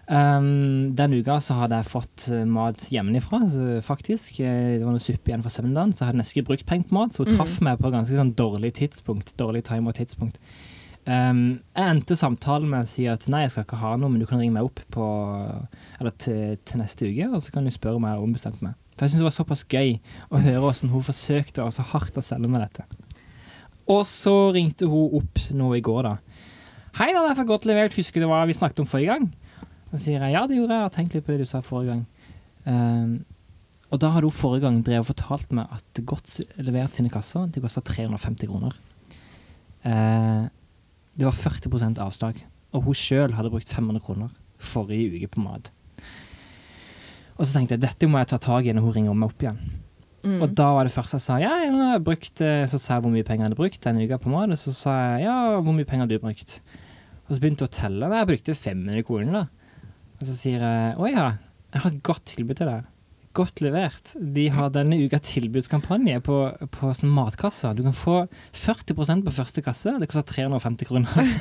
Um, den uka så hadde jeg fått eh, mat hjemmefra, så faktisk. Eh, Det var noe suppe igjen fra søndagen, så jeg hadde nesten ikke brukt penger på mat. Så hun
Mm.
traff meg på et ganske sånn dårlig tidspunkt. Dårlig time og tidspunkt. Um, jeg endte samtalen med å si at nei, jeg skal ikke ha noe, men du kan ringe meg opp på, eller til, til neste uke, og så kan du spørre meg og ombestemme meg. For jeg syns det var såpass gøy å høre hvordan hun forsøkte og så hardt å selge med dette. Og så ringte hun opp nå i går, da. Hei da, det er for godt levert. Husker du hva vi snakket om forrige gang? Da sier jeg ja, det gjorde jeg. Jeg har tenkt litt på det du sa forrige gang. Ehm, og da hadde hun forrige gang drevet og fortalt meg at det godt levert sine kasser det kosta 350 kroner. Eh, det var 40 avslag. Og hun sjøl hadde brukt 500 kroner forrige uke på mat. Og så tenkte jeg dette må jeg ta tak i når hun ringer meg opp igjen.
Mm.
Og da var det første jeg sa ja, jeg har brukt, eh, så sa jeg hvor mye penger jeg hadde brukt denne uka på mat, og så sa jeg ja, hvor mye penger har du brukt? Og så begynte jeg å telle, Nei, jeg brukte 500 kroner da. Og så sier jeg, å ja, jeg har et godt tilbud til deg. Godt levert. De har denne uka tilbudskampanje på, på sånn matkasser. Du kan få 40 på første kasse, det koster 350 kroner.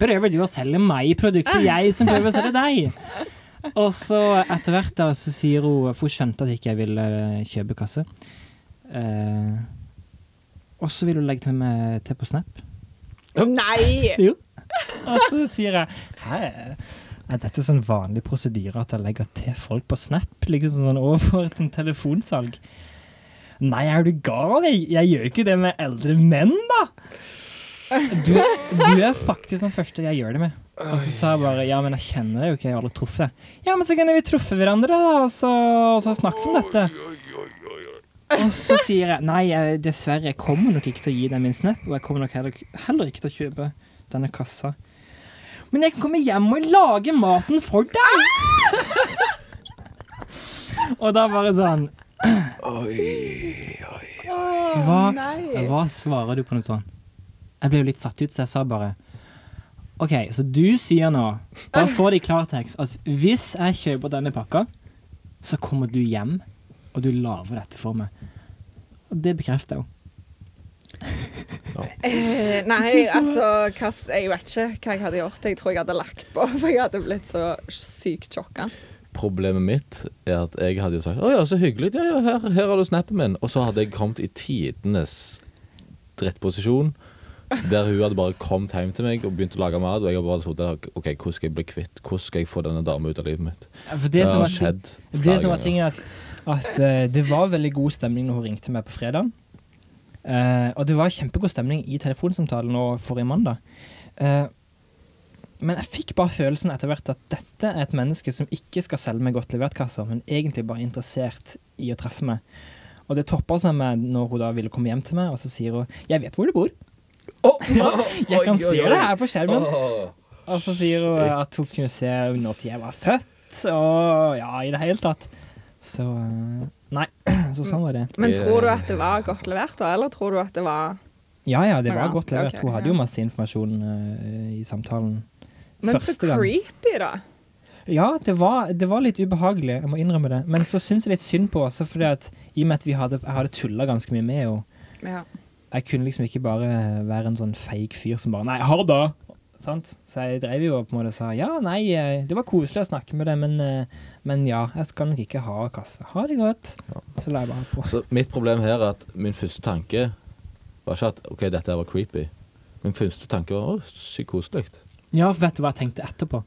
prøver du å selge meg produktet, jeg som prøver å selge deg? Og så etter hvert da, så sier hun For hun skjønte at ikke jeg ville eh, kjøpe kasse. Eh, og så vil hun legge til meg til på Snap.
Nei!
Jo. Og så sier jeg Hæ? Er dette sånn vanlig prosedyre at jeg legger til folk på Snap? Liksom sånn over et sånt telefonsalg? Nei, er du gal? Jeg, jeg gjør jo ikke det med eldre menn, da! Du, du er faktisk den første jeg gjør det med. Og så sa jeg bare ja, men jeg kjenner deg jo ikke, jeg har aldri truffet deg. Ja, men så kunne vi truffet hverandre, da, og så, og så snakket om dette. Og så sier jeg nei, jeg, dessverre, jeg kommer nok ikke til å gi deg min snap, og jeg kommer nok heller, heller ikke til å kjøpe denne kassa. Men jeg kan komme hjem og lage maten for deg! og da bare sånn Hva,
nei.
hva svarer du på noe sånt? Jeg ble jo litt satt ut, så jeg sa bare OK, så du sier nå, bare får det i klartekst, at hvis jeg kjøper denne pakka, så kommer du hjem, og du lager dette for meg. Og det bekrefter jeg jo.
Eh, nei, altså hva, s- Jeg vet ikke hva jeg hadde gjort. Jeg tror jeg hadde lagt på, for jeg hadde blitt så sykt sjokka.
Problemet mitt er at jeg hadde jo sagt 'Å ja, så hyggelig. Ja, ja, her, her har du snappen min.' Og så hadde jeg kommet i tidenes drittposisjon. Der hun hadde bare kommet hjem til meg og begynt å lage mat. Og jeg hadde bare sittet der OK, hvordan skal jeg bli kvitt Hvordan skal jeg få denne damen ut av livet mitt?
For
Det,
det som
har
var ting-
skjedd
Det som var ting er at, at eh, det var veldig god stemning når hun ringte meg på fredag. Eh, og det var kjempegod stemning i telefonsamtalen og forrige mandag. Eh, men jeg fikk bare følelsen etter hvert at dette er et menneske som ikke skal selge meg godt levert-kasser, men egentlig bare er interessert i å treffe meg. Og det toppa seg med når hun da ville komme hjem til meg, og så sier hun 'Jeg vet hvor du bor'. Å, jeg kan se det her på skjermen. Og så sier hun at hun kunne se når jeg var født, og ja, i det hele tatt. Så eh, Nei, så sånn var det.
Men
Ja.
tror du at det var godt levert, da? Eller tror du at det var
Ja ja, det
Ja,
var godt levert.
ok,
Hun hadde
ja.
jo masse informasjon eh, i samtalen
Men så
første gang.
creepy, da.
Ja, det var, det var litt ubehagelig, jeg må innrømme det. Men så syns jeg litt synd på henne, også fordi at i og med at vi hadde, jeg hadde tulla ganske mye med henne.
Ja.
Jeg kunne liksom ikke bare være en sånn feig fyr som bare Nei, har da! Sant? Så jeg dreiv jo og på en måte og sa ja, nei, eh, det var koselig å snakke med deg, men, eh, men ja, jeg skal nok ikke ha kasse. Ha det godt. Så la jeg bare på.
Så mitt problem her er at min første tanke var ikke at OK, dette her var creepy. Min første tanke var å, sykt koselig.
Ja, for vet du hva jeg tenkte etterpå?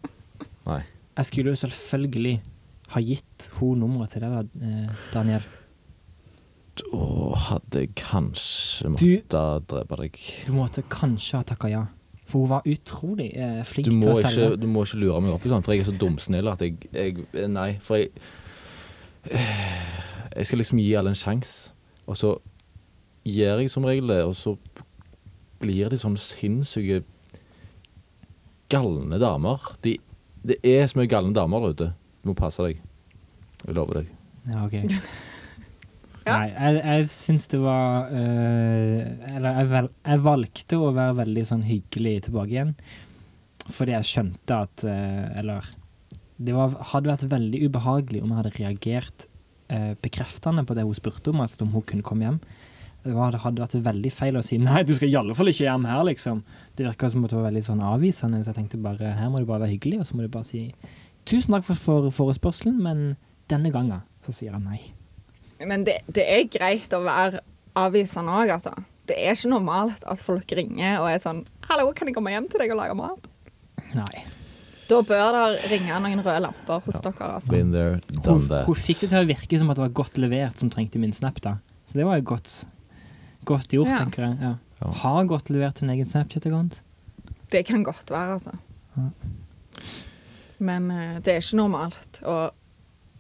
Nei.
Jeg skulle jo selvfølgelig ha gitt hun nummeret til deg, da, eh, Daniel.
Da hadde jeg kanskje
Du-
måttet drepe deg.
Du måtte kanskje ha takka ja, for hun var utrolig eh, flink
Du må,
til å
ikke,
selge.
du må ikke lure meg opp i sånn, for jeg er så dumsnill at jeg, jeg eh, Nei, for jeg Jeg skal liksom gi alle en sjanse, og så gjør jeg som regel det, og så blir de sånne sinnssyke galne damer. De, det er så mye galne damer der ute. Du må passe deg. Jeg lover deg.
Ja, ok.
Ja.
Nei, jeg, jeg syns det var øh, Eller jeg, vel, jeg valgte å være veldig sånn hyggelig tilbake igjen. Fordi jeg skjønte at øh, Eller Det var, hadde vært veldig ubehagelig om jeg hadde reagert øh, bekreftende på det hun spurte om, altså om hun kunne komme hjem. Det var, det hadde vært veldig feil å si 'nei, du skal i alle fall ikke hjem her', liksom. Det virka som at det var veldig sånn avvisende, så jeg tenkte bare her må du bare være hyggelig, og så må du bare si 'tusen takk for, for forespørselen, men denne gangen så sier jeg nei'.
Men det, det er greit å være avvisende òg, altså. Det er ikke normalt at folk ringer og er sånn 'Hallo, kan jeg komme hjem til deg og lage mat?'
Nei.
Da bør det ringe noen røde lamper hos dere, altså.
Been there,
Hun,
done that.
hun fikk det til å virke som at det var godt levert som trengte min snap, da. Så det var jo godt, godt gjort,
Ja.
tenker jeg. Ja.
Ja.
Har godt levert sin egen Snapchat-kont.
Det kan godt være, altså.
Ja.
Men eh, det er ikke normalt å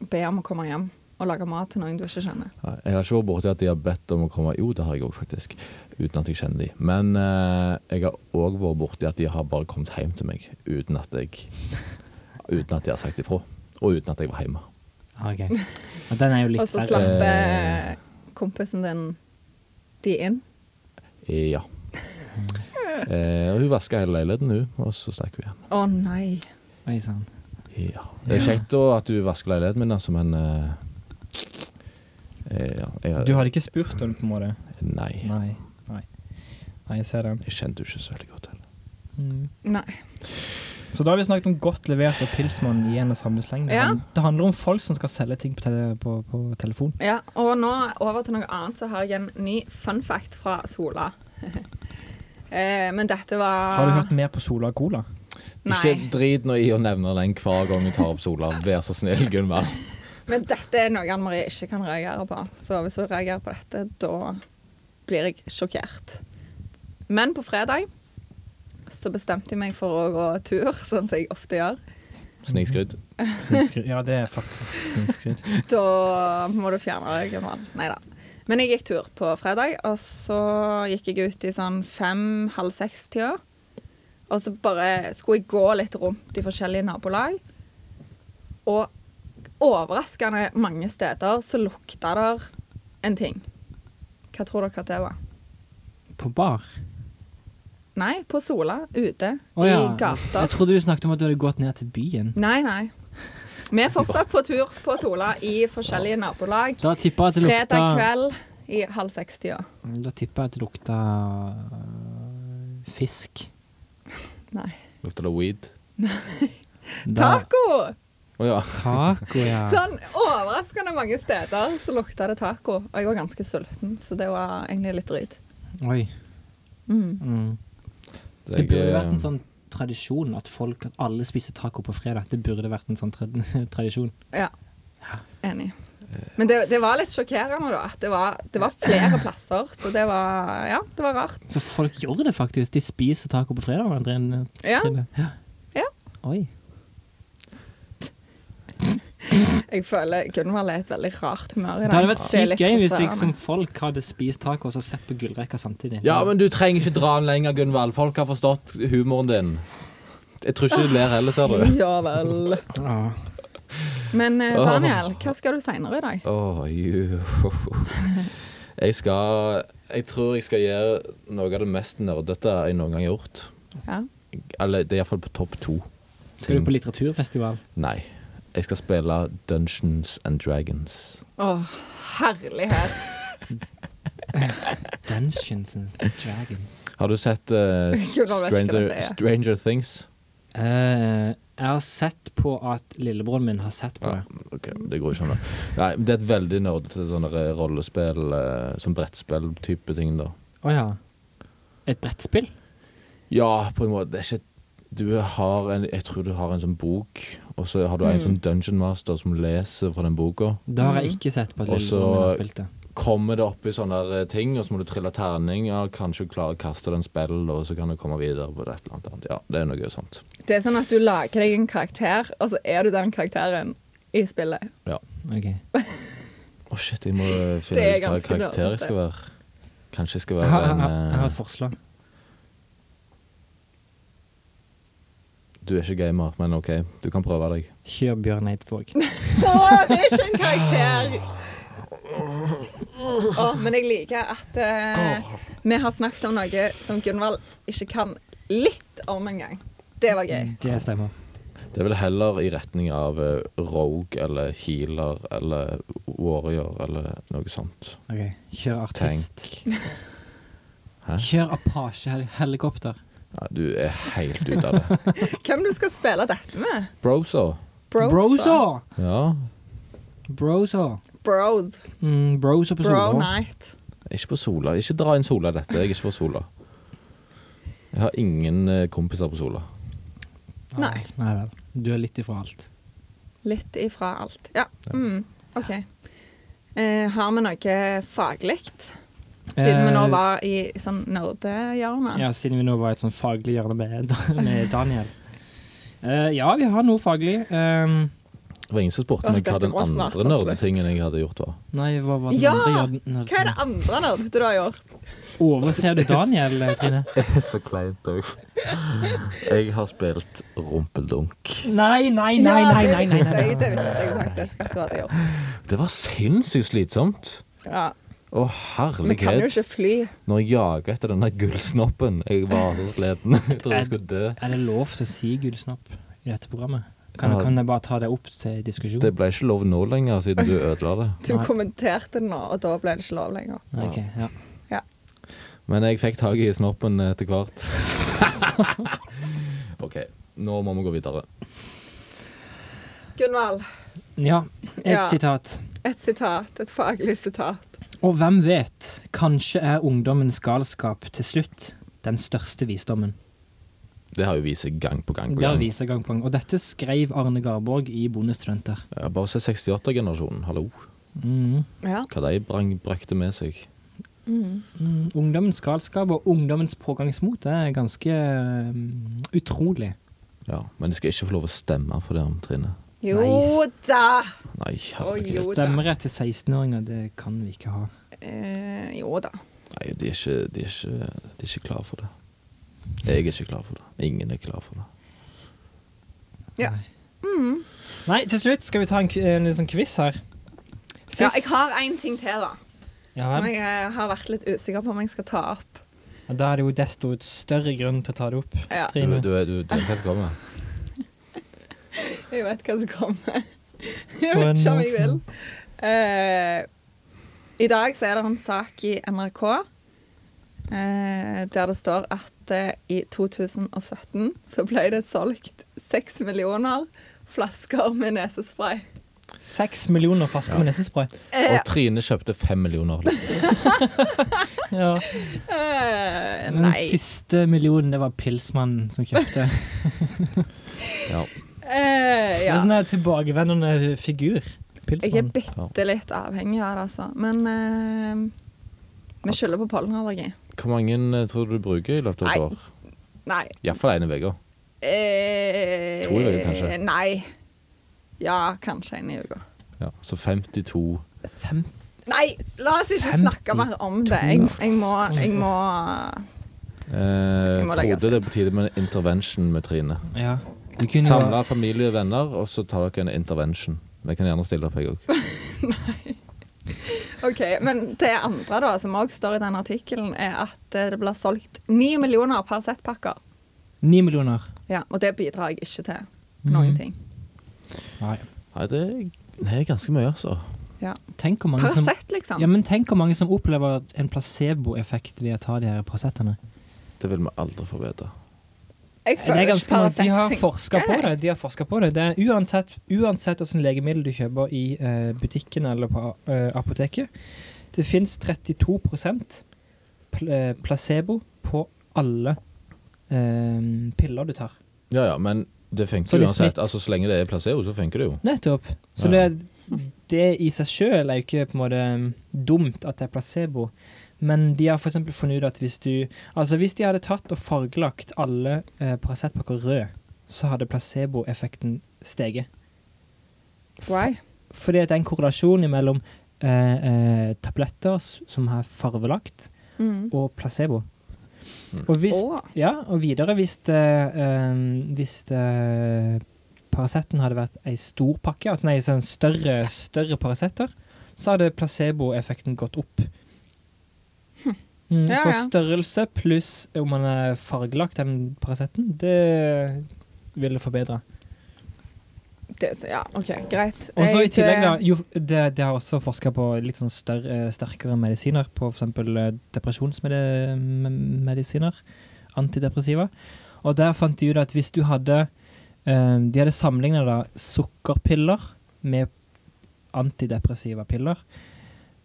be om å komme hjem og lage mat til noen du ikke kjenner.
Nei, Jeg har ikke vært borti at de har bedt om å komme Jo, det har jeg òg, faktisk. Uten at jeg kjenner de. Men eh, jeg har òg vært borti at de har bare kommet hjem til meg uten at jeg Uten at de har sagt ifra. Og uten at jeg var hjemme.
Okay. Og den er jo
Og
litt eh,
så
verre.
slapper kompisen din de inn.
Eh, Ja. Eh, og hun vaska hele leiligheten, hun, og så stakk vi igjen.
Å nei.
Oi sånn. sann.
Ja. Det er kjekt da at du vasker leiligheten min, altså, men eh, eh, ja, jeg,
Du hadde ikke spurt henne, på en måte?
Nei.
Nei. Nei, Nei jeg ser den.
Jeg kjente henne ikke så veldig godt heller.
Mm.
Nei.
Så da har vi snakket om godt levert og pilsmann i en og samme sleng. Det,
Ja.
han- det handler om folk som skal selge ting på, tele, på, på telefon.
Ja, og nå over til noe annet, så har jeg en ny fun fact fra Sola. eh, men dette var
Har du hørt mer på Sola Cola?
Nei.
Ikke drit nå i å nevne den hver gang vi tar opp Sola. Vær så snill, Gunvald.
Men dette er noe Anne Marie ikke kan reagere på. Så hvis hun reagerer på dette, da blir jeg sjokkert. Men på fredag så bestemte jeg meg for å gå tur, sånn som jeg ofte gjør.
Snikskryt.
Snikskryt. Ja, det er faktisk snikskryt.
Da må du fjerne deg en vann. Nei da. Men jeg gikk tur på fredag, og så gikk jeg ut i sånn fem-halv seks-tida. Og så bare skulle jeg gå litt rundt i forskjellige nabolag. Og overraskende mange steder så lukta der en ting. Hva tror dere at det var?
På bar.
Nei, på Sola, ute,
Å ja.
i gata.
Jeg trodde du snakket om at du hadde gått ned til byen.
Nei, nei. Vi er fortsatt på tur på Sola i forskjellige nabolag.
Da tipper jeg at det lukta
Fredag kveld i halv seks-tida.
Da tipper jeg at det lukta øh, fisk.
Nei.
Lukter det weed?
Da-
Taco!
Å ja.
Taco, ja.
Sånn overraskende mange steder så lukta det taco. Og jeg var ganske sulten, så det var egentlig litt drit.
Oi.
Mm.
Mm.
Det,
Det burde
eh,
vært en sånn tradisjon at folk, at alle spiser taco på fredag. Det burde vært en sånn tra tradisjon.
Ja. Enig. Men det, det var litt sjokkerende, da. At det var, det var flere plasser, så det var Ja, det var rart.
Så folk gjør det faktisk. De spiser taco på fredag. André-
Ja,
Trine. Ja.
Ja.
Oi.
jeg føler Gunvald er i et veldig rart humør i
Det
dag.
hadde vært
er
sykt
litt
gøy hvis
frustrerende.
liksom folk hadde spist taco og så sett på gullrekka samtidig.
Ja, men du trenger ikke dra den lenger, Gunvald. Folk har forstått humoren din. Jeg tror ikke du ler heller, ser du.
Ja vel.
Ja.
Men eh, Daniel, hva skal du seinere i dag?
Åh, ju. Jeg skal Jeg tror jeg skal gjøre noe av det mest nerdete jeg noen gang har gjort.
Ja.
Eller det er iallfall på topp to.
Skal du på litteraturfestival?
Nei. Jeg skal spille Dungeons and Dragons.
Å, herlighet.
Dungeons and Dragons.
Har du sett eh,
Jeg vet ikke
Stranger,
hva det er.
Stranger Things?
Eh, jeg har sett på at lillebroren min har sett på
Ja.
det.
Ok, det går ikke an. da. Nei, det er et veldig nerdete sånn der rollespill, eh, sånn brettspill-type ting, da.
Å ja. Et brettspill?
Ja, på en måte. Det er ikke Du har en Jeg tror du har en sånn bok, og så har du en
Mm.
sånn dungeon master som leser fra den boka.
Det har jeg
Mhm.
ikke sett på at
Og så-
lillebroren min har spilt det.
Kommer det opp i sånne der, eh, ting, og så må du trille terning, ja, kanskje du klarer å kaste den spillet, og så kan du komme videre på et eller annet. Ja, det er noe sånt.
Det er sånn at du lager deg en karakter, og så er du den karakteren i spillet.
Ok.
Å, shit, jeg må eh,
Det
finne
er
ut hva
ganske
karakter
nerdete.
jeg skal være. Kanskje jeg skal
Jeg har,
være
jeg,
en
har, jeg har et
eh,
forslag.
Du er ikke gamer, men OK, du kan prøve deg.
Kjør Bjørn Eidsvåg.
Å, det er ikke en karakter! Å, men jeg liker at eh, vi har snakket om noe som Gunvald ikke kan litt om engang. Det var gøy.
Det stemmer.
Det er vel heller i retning av eh, rogue eller healer eller warrior eller noe sånt.
Ok, Kjør artist.
Hæ?
Kjør Apache-helikopter.
Ja, du er helt ute av det.
Hvem du skal spille dette med?
Brosa.
Brosa!
Ja.
Brosa.
Bros.
Mm, brosa på
Bro
Solå.
night.
Ikke på Sola. Ikke dra inn Sola i dette. Jeg er ikke for Sola. Jeg har ingen eh, kompiser på Sola.
Nei.
Nei vel. Du er litt ifra alt.
Litt ifra alt. Ja. Mm. OK. Eh, har vi noe faglig? Siden vi nå
Eh,
var i sånn nerdehjørne.
Ja, siden vi nå var i et sånn faglig hjørne med, med Daniel. Eh, ja, vi har noe faglig. Eh,
Det var ingen som spurte
Åh,
meg hva
dette
den
må snart ta
andre
slutt.
nerdetingen jeg hadde gjort, var.
nei, hva var det
Ja!
andre? gjør- når-
Hva er det andre nerdete du har gjort?
Overser du Daniel, eh, Trine?
Så kleint òg. Jeg har spilt rumpeldunk.
Nei, nei, nei,
ja,
nei, nei,
det
nei,
visste
nei,
jeg, det visste jeg faktisk at du hadde gjort.
Det var sinnssykt slitsomt.
Ja.
Å,
Vi kan jo
herlighet.
ikke fly.
Når jeg jager etter denne gullsnoppen Jeg var så sliten. Jeg trodde jeg skulle dø.
Er det lov til å si gullsnopp i dette programmet? Kan,
Ja.
kan jeg bare ta det opp til diskusjon?
Det ble ikke lov nå lenger, siden du ødela det.
Du
Nei.
kommenterte det nå, og da ble det ikke lov lenger.
Nei, ok, ja.
Men jeg fikk tak i snoppen etter hvert. OK, nå må vi gå videre.
Gunvald,
ja, et
Ja.
sitat.
et sitat. Et faglig sitat.
Og hvem vet, kanskje er ungdommens galskap til slutt den største visdommen.
Det har jo vist seg gang på gang på
Det har
gang.
vist seg gang på gang. Og dette skrev Arne Garborg i Bondestudenter.
Ja, bare se 68-generasjonen. Hallo.
Mm.
Ja.
Hva de brang, brakte med seg.
Mm.
Mm, Ungdommens galskap og ungdommens pågangsmot det er ganske mm, utrolig.
Ja, Men de skal ikke få lov å stemme for det, om Trine.
Jo
Nice.
da!
Nei,
Oi,
herregud.
jo.
Stemmerett til 16-åringer, det kan vi ikke ha.
Eh, jo da.
Nei, de er, ikke, de, er ikke, de er ikke klar for det. Jeg er ikke klar for det. Ingen er klar for det.
Ja.
Nei, til slutt skal vi ta en, k- en litt sånn quiz her.
Ja, jeg har én ting til, da.
Ja,
Som
vel.
jeg eh, har vært litt usikker på om jeg skal ta opp.
Og Da er det jo desto større grunn til å ta det opp.
Ja,
Du,
Trine.
du, du, du vet hva som kommer.
jeg vet hva som kommer. Jeg vet ikke om jeg vil. Eh, I dag så er det en sak i NRK eh, der det står at eh, i 2017 så ble det solgt seks millioner flasker med nesespray.
Seks millioner flasker med nesespray.
Eh,
Og Trine kjøpte fem millioner.
Ja.
eh,
Den
nei.
siste millionen, det var Pilsmannen som kjøpte.
Ja.
Eh,
Det er
ja.
sånn en tilbakevendende figur.
Jeg er
Pilsmannen.
bitte litt avhengig av det, altså. Men eh, vi skylder på pollenallergi.
Hvor mange eh, tror du du bruker i løpet av et
Nei.
år?
Nei.
Iallfall én i uka.
Eh,
To i uka, kanskje?
Nei. Ja, kanskje en i uka.
Ja. Så 52
Fem.
Nei, la oss ikke snakke mer om det. Jeg, jeg må, jeg må
Eh,
Jeg må legge oss
Frode, det er på tide med en intervention med Trine.
Ja. Du kunne jo
Samle familie og venner, og så tar dere en intervention. Vi kan gjerne stille opp, jeg òg.
OK. Men det andre, da, som òg står i den artikkelen, er at eh, det blir solgt ni millioner Paracet-pakker.
Ni millioner.
Ja, og det bidrar jeg ikke til noen
Mhm.
ting.
Nei.
Nei, det er- det er ganske mye, altså.
Tenk hvor mange som
Paracet, liksom.
ja, men tenk hvor mange som opplever en placeboeffekt ved å ta de her Paracetene.
Det vil vi aldri få vite.
Jeg
Det er
føler
ganske
ikke
mange, De har
Paracet
forska på det. De har forsket på det. det er uansett, uansett hvilket legemiddel du kjøper i eh, butikken eller på eh, apoteket, det fins 32 pl eh, placebo på alle eh, piller du tar.
Ja ja, men det funker
Så litt
uansett.
snitt.
Altså, så lenge det er placebo, så funker det jo.
Nettopp. Så
Ja.
det, det i seg sjøl er jo ikke på en måte um, dumt at det er placebo. Men de har f.eks. funnet ut at hvis du Altså hvis de hadde tatt og fargelagt alle eh, Paracet-pakker rød, så hadde placeboeffekten steget.
Why?
Fordi at det er en korrelasjon mellom eh, eh, tabletter s- som er farvelagt,
Mhm.
og placebo.
Mm.
Og, hvis,
Åh.
ja, og videre, hvis, det, eh, hvis det, Paraceten hadde vært ei stor pakke, at nei, sånn større, større Paraceter, så hadde placeboeffekten gått opp. Mm,
Hm. Ja,
så
ja.
størrelse pluss om man er fargelagt, den Paraceten, det ville forbedre.
Det, er så- ja, OK, greit.
Og så i
Jeg- eh,
tillegg da, jo, det, det har også forska på litt sånn større, sterkere medisiner, på eh, f.eks. depresjonsmedisiner, antidepressiva. Og der fant de ut at hvis du hadde eh, De hadde sammenligna sukkerpiller med antidepressiva piller.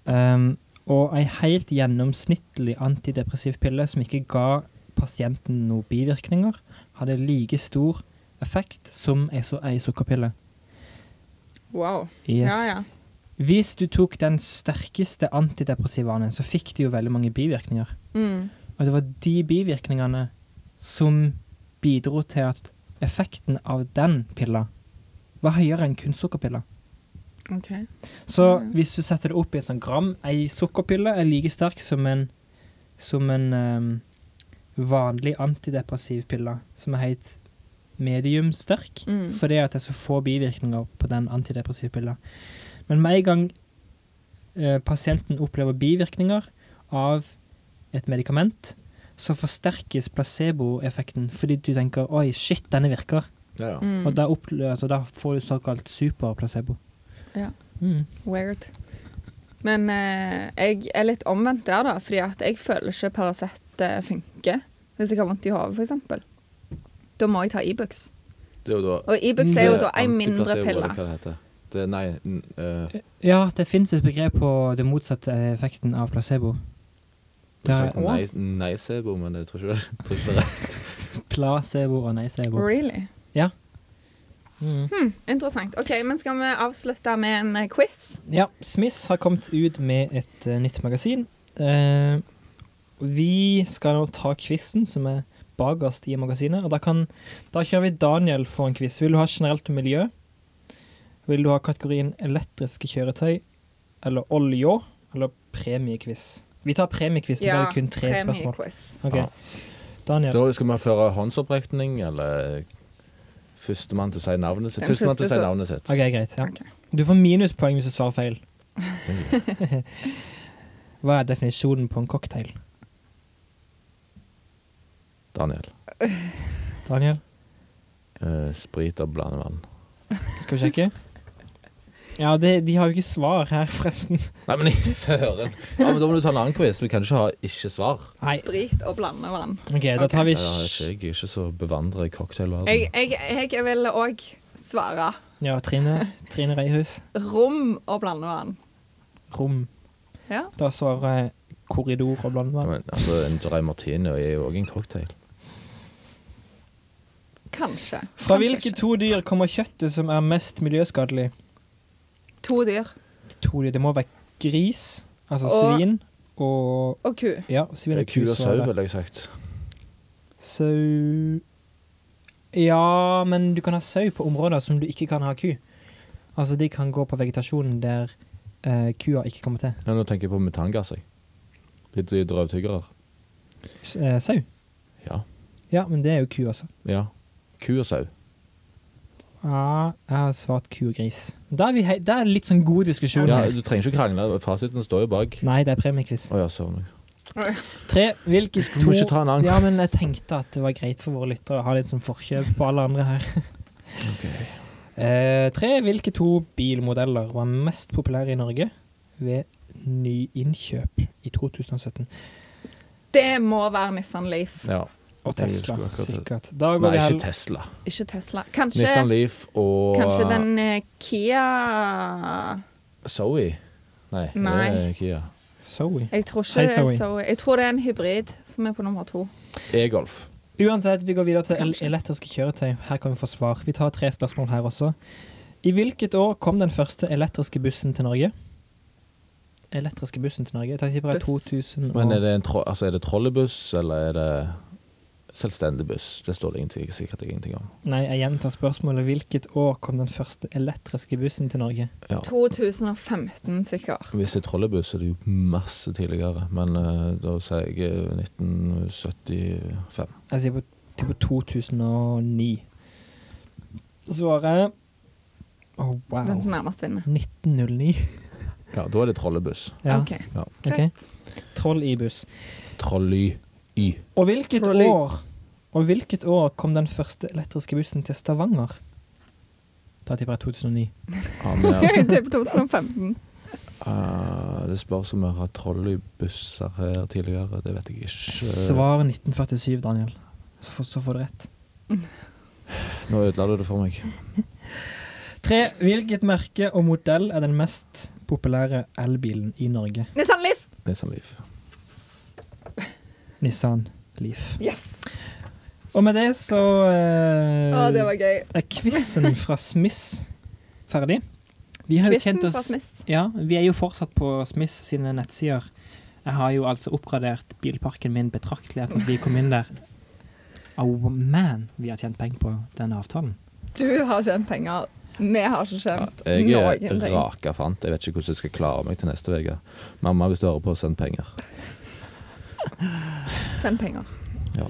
Um, og ei helt gjennomsnittlig antidepressiv pille som ikke ga pasienten noen bivirkninger, hadde like stor effekt som ei su- ei sukkerpille.
Wow.
Yes.
Ja, ja.
Hvis du tok den sterkeste antidepressivanen, så fikk du jo veldig mange bivirkninger.
Mm.
Og det var de bivirkningene som bidro til at effekten av den pilla var høyere enn kun sukkerpiller.
OK.
Så
Mm.
hvis du setter det opp i et sånt gram, ei sukkerpille er like sterk som en, som en ehm, vanlig antidepressiv pille, som er helt medium sterk,
Mm.
fordi at det er så få bivirkninger på den antidepressive pilla. Men med en gang eh, pasienten opplever bivirkninger av et medikament, så forsterkes placeboeffekten fordi du tenker 'oi, shit, denne virker'.
Ja, ja.
Mm.
Og da, opple- altså, da får du såkalt superplacebo.
Ja.
Mm.
Weird. Men eh, jeg er litt omvendt der, da. Fordi at jeg føler ikke Paracet eh, funker. Hvis jeg har vondt i hodet, f.eks. Da må jeg ta Ibux.
Det er jo da
Og Ibux er jo
det
da ei mindre
antiplacebo,
pille.
eller Hva det heter. Det, nei, n- eh,
Ja, det fins et begrep på det motsatte effekten av placebo.
du
Det
har
er
sagt nei, nei-sebo, men jeg tror ikke det. jeg Tror ikke det er rett.
placebo og Mm. nei-sebo.
Really? Hm, Interessant. OK, men skal vi avslutte med en eh, quiz?
Ja, Smith har kommet ut med et eh, nytt magasin. Eh, vi skal nå ta quizen som er bakerst i magasinet. Og da, kan, da kjører vi Daniel for en quiz. Vil du ha generelt miljø? Vil du ha kategorien elektriske kjøretøy eller olje? Eller premiequiz? Vi tar premiequizen. Ja, det er kun tre spørsmål.
premiequiz.
Ok.
Ja.
Daniel.
Da skal vi føre håndsopprekning, eller Førstemann til å si navnet sitt.
Den
Førstemann til
første
å si
som-
navnet sitt.
OK, greit. ja.
Ok.
Du får minuspoeng hvis du svarer feil. Hva er definisjonen på en cocktail?
Daniel.
Daniel,
Eh, sprit og blandevann.
skal vi sjekke? Ja, det, de har jo ikke svar her, forresten.
Nei, men i søren! Ja, men Da må du ta en annen quiz. Vi kan ikke ha ikke-svar.
Nei.
Sprit og blandevann.
OK, da tar vi
Jeg er ikke, jeg er ikke så bevandret i
Jeg,
cocktailverden.
jeg, jeg vil òg svare
Ja, Trine, Trine Reihus.
rom og blandevann.
Rom.
Ja.
Da svarer jeg korridor og
Ja,
blandevann.
men, altså, en dry martini er jo òg en cocktail.
Kanskje. Kanskje
Fra hvilke
ikke.
to dyr kommer kjøttet som er mest miljøskadelig?
To dyr
To dyr, Det må være gris, altså
Og-
svin, og
og ku.
Ja, svin og
Ku og sau,
kusvare.
ville jeg sagt.
Sau Ja, men du kan ha sau på områder som du ikke kan ha ku. Altså, de kan gå på vegetasjonen der eh, kua ikke kommer til.
Ja, nå tenker jeg på metangass. jeg. Litt i drøvtyggere.
S eh, sau.
Ja.
Ja, men det er jo ku også.
ja. Ku og sau.
Ja, Ah, jeg har svart ku og gris. Da er vi hei det er litt sånn god diskusjon
Ja,
her.
du trenger ikke krangle. Fasiten står jo bak.
Nei, det er premiekviss.
Å ja, søren.
Tre. Hvilke
Du
to
må ikke ta en annen
Ja, men jeg tenkte at det var greit for våre lyttere å ha litt sånn forkjøp på alle andre her.
Ok.
Eh, tre. Hvilke to bilmodeller var mest populære i Norge ved nyinnkjøp i 2017?
Det må være Nissan Leaf,
Ja.
Og
Jeg
Tesla,
skulle akkurat-
sikkert. Da går
Nei,
vi
ikke
hel-
Tesla.
ikke Tesla. Kanskje,
Nissan Leaf og uh,
kanskje den eh, Kia
Zoe. Nei,
Nei.
det er Kia.
Zoe.
Jeg tror ikke
Hei,
det er
Zoe.
Zoe. Jeg tror det er en hybrid som er på nummer to.
E-Golf.
Uansett, vi går videre til el
Kanskje.
elektriske kjøretøy. Her kan vi få svar. Vi tar tre spørsmål her også. I hvilket år kom den første elektriske bussen til Norge? Elektriske bussen til Norge? Jeg tenker på det er
Buss.
2000
Men er
og...
det, en tro altså, er det trolleybuss, eller er det selvstendig buss? Det står det ingenting, sikkert ingenting om.
Nei, jeg gjentar spørsmålet. Hvilket år kom den første elektriske bussen til Norge?
Ja.
2015, sikkert.
Hvis det er trolleybuss, er det jo masse tidligere. Men eh, da sier jeg eh, 1975.
Jeg sier på, til på 2009. Svaret Å, wow.
Den som nærmest vinner.
1909.
Ja, da er det trolleybuss.
Ja,
OK.
ok. Troll i buss.
Trolley-y.
Og hvilket
Trolley.
år Og hvilket år kom den første elektriske bussen til Stavanger? Da tipper jeg 2009.
Ja, men, ja.
Det er på 2015.
Eh, det spørs om vi har trolleybusser her tidligere. Det vet jeg ikke.
Svar 1947, Daniel. Så, får- så får du rett.
Nå ødela du det for meg.
Tre. Hvilket merke og modell er den mest populære elbilen i Norge?
Nissan Leaf!
Nissan Leaf.
Nissan Leaf.
Yes!
Og med det så eh,
Å, det var gøy.
er quizen fra Smith ferdig. Vi har jo
Quizen
tjent
fra
oss
Smith.
Ja, vi er jo fortsatt på Smith sine nettsider. Jeg har jo altså oppgradert bilparken min betraktelig etter at vi kom inn der. Oh man, vi har tjent penger på den avtalen.
Du har tjent penger. Vi har ikke tjent
Jeg er
noen ting.
raka fant. Jeg vet ikke hvordan jeg skal klare meg til neste uke. Mamma, hvis du hører på, send penger.
Send penger.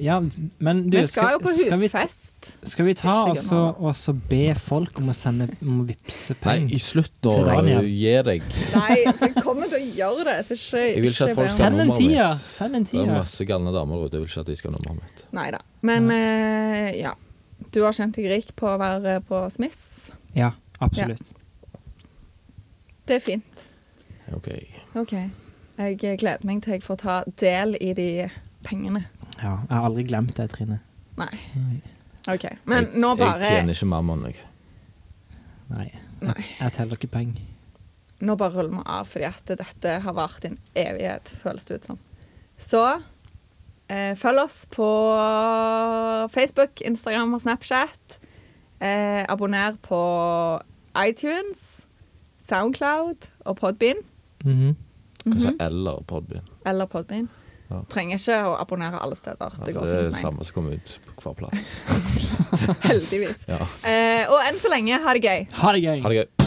Ja, men du,
vi skal jo på
skal vi, ta-
husfest.
skal vi ta
Ikke
og så- og så be folk om å sende om å vippse
Nei,
penger?
i slutt nå.
Til Daniel.
Gi deg.
Nei, for jeg kommer til å gjøre det. Så ikke,
Jeg vil ikke at folk
be om-
skal
Send en
nummeret mitt.
tier! Send en
Det er
tier.
masse galne damer der ute. Jeg vil ikke at de skal ha nummeret mitt.
Nei da. Men eh, ja. Du har kjent deg rik på å være eh, på Smiths.
Ja, absolutt.
Det er fint.
OK.
OK. Jeg gleder meg til jeg får ta del i de pengene.
Ja, jeg har aldri glemt det, Trine.
Nei.
Nei.
OK. Men nå
Jeg tjener
bare,
ikke mammon, jeg.
Nei.
Nei.
Jeg, jeg teller ikke penger.
nå bare ruller vi av, fordi at dette har vart i en evighet, føles det ut som. Så eh, følg oss på Facebook, Instagram og Snapchat. Eh, abonner på iTunes, Soundcloud og Podbean.
Mhm.
Hva sa eller Podbean?
Eller Podbean.
Ja.
Trenger ikke å abonnere alle steder.
Ja,
Det
for
går
det
fint.
er det
med meg.
samme som kommer ut på hver plass.
Heldigvis.
Ja.
Eh, og enn så lenge, ha det gøy.
Ha det gøy!
Ha det gøy.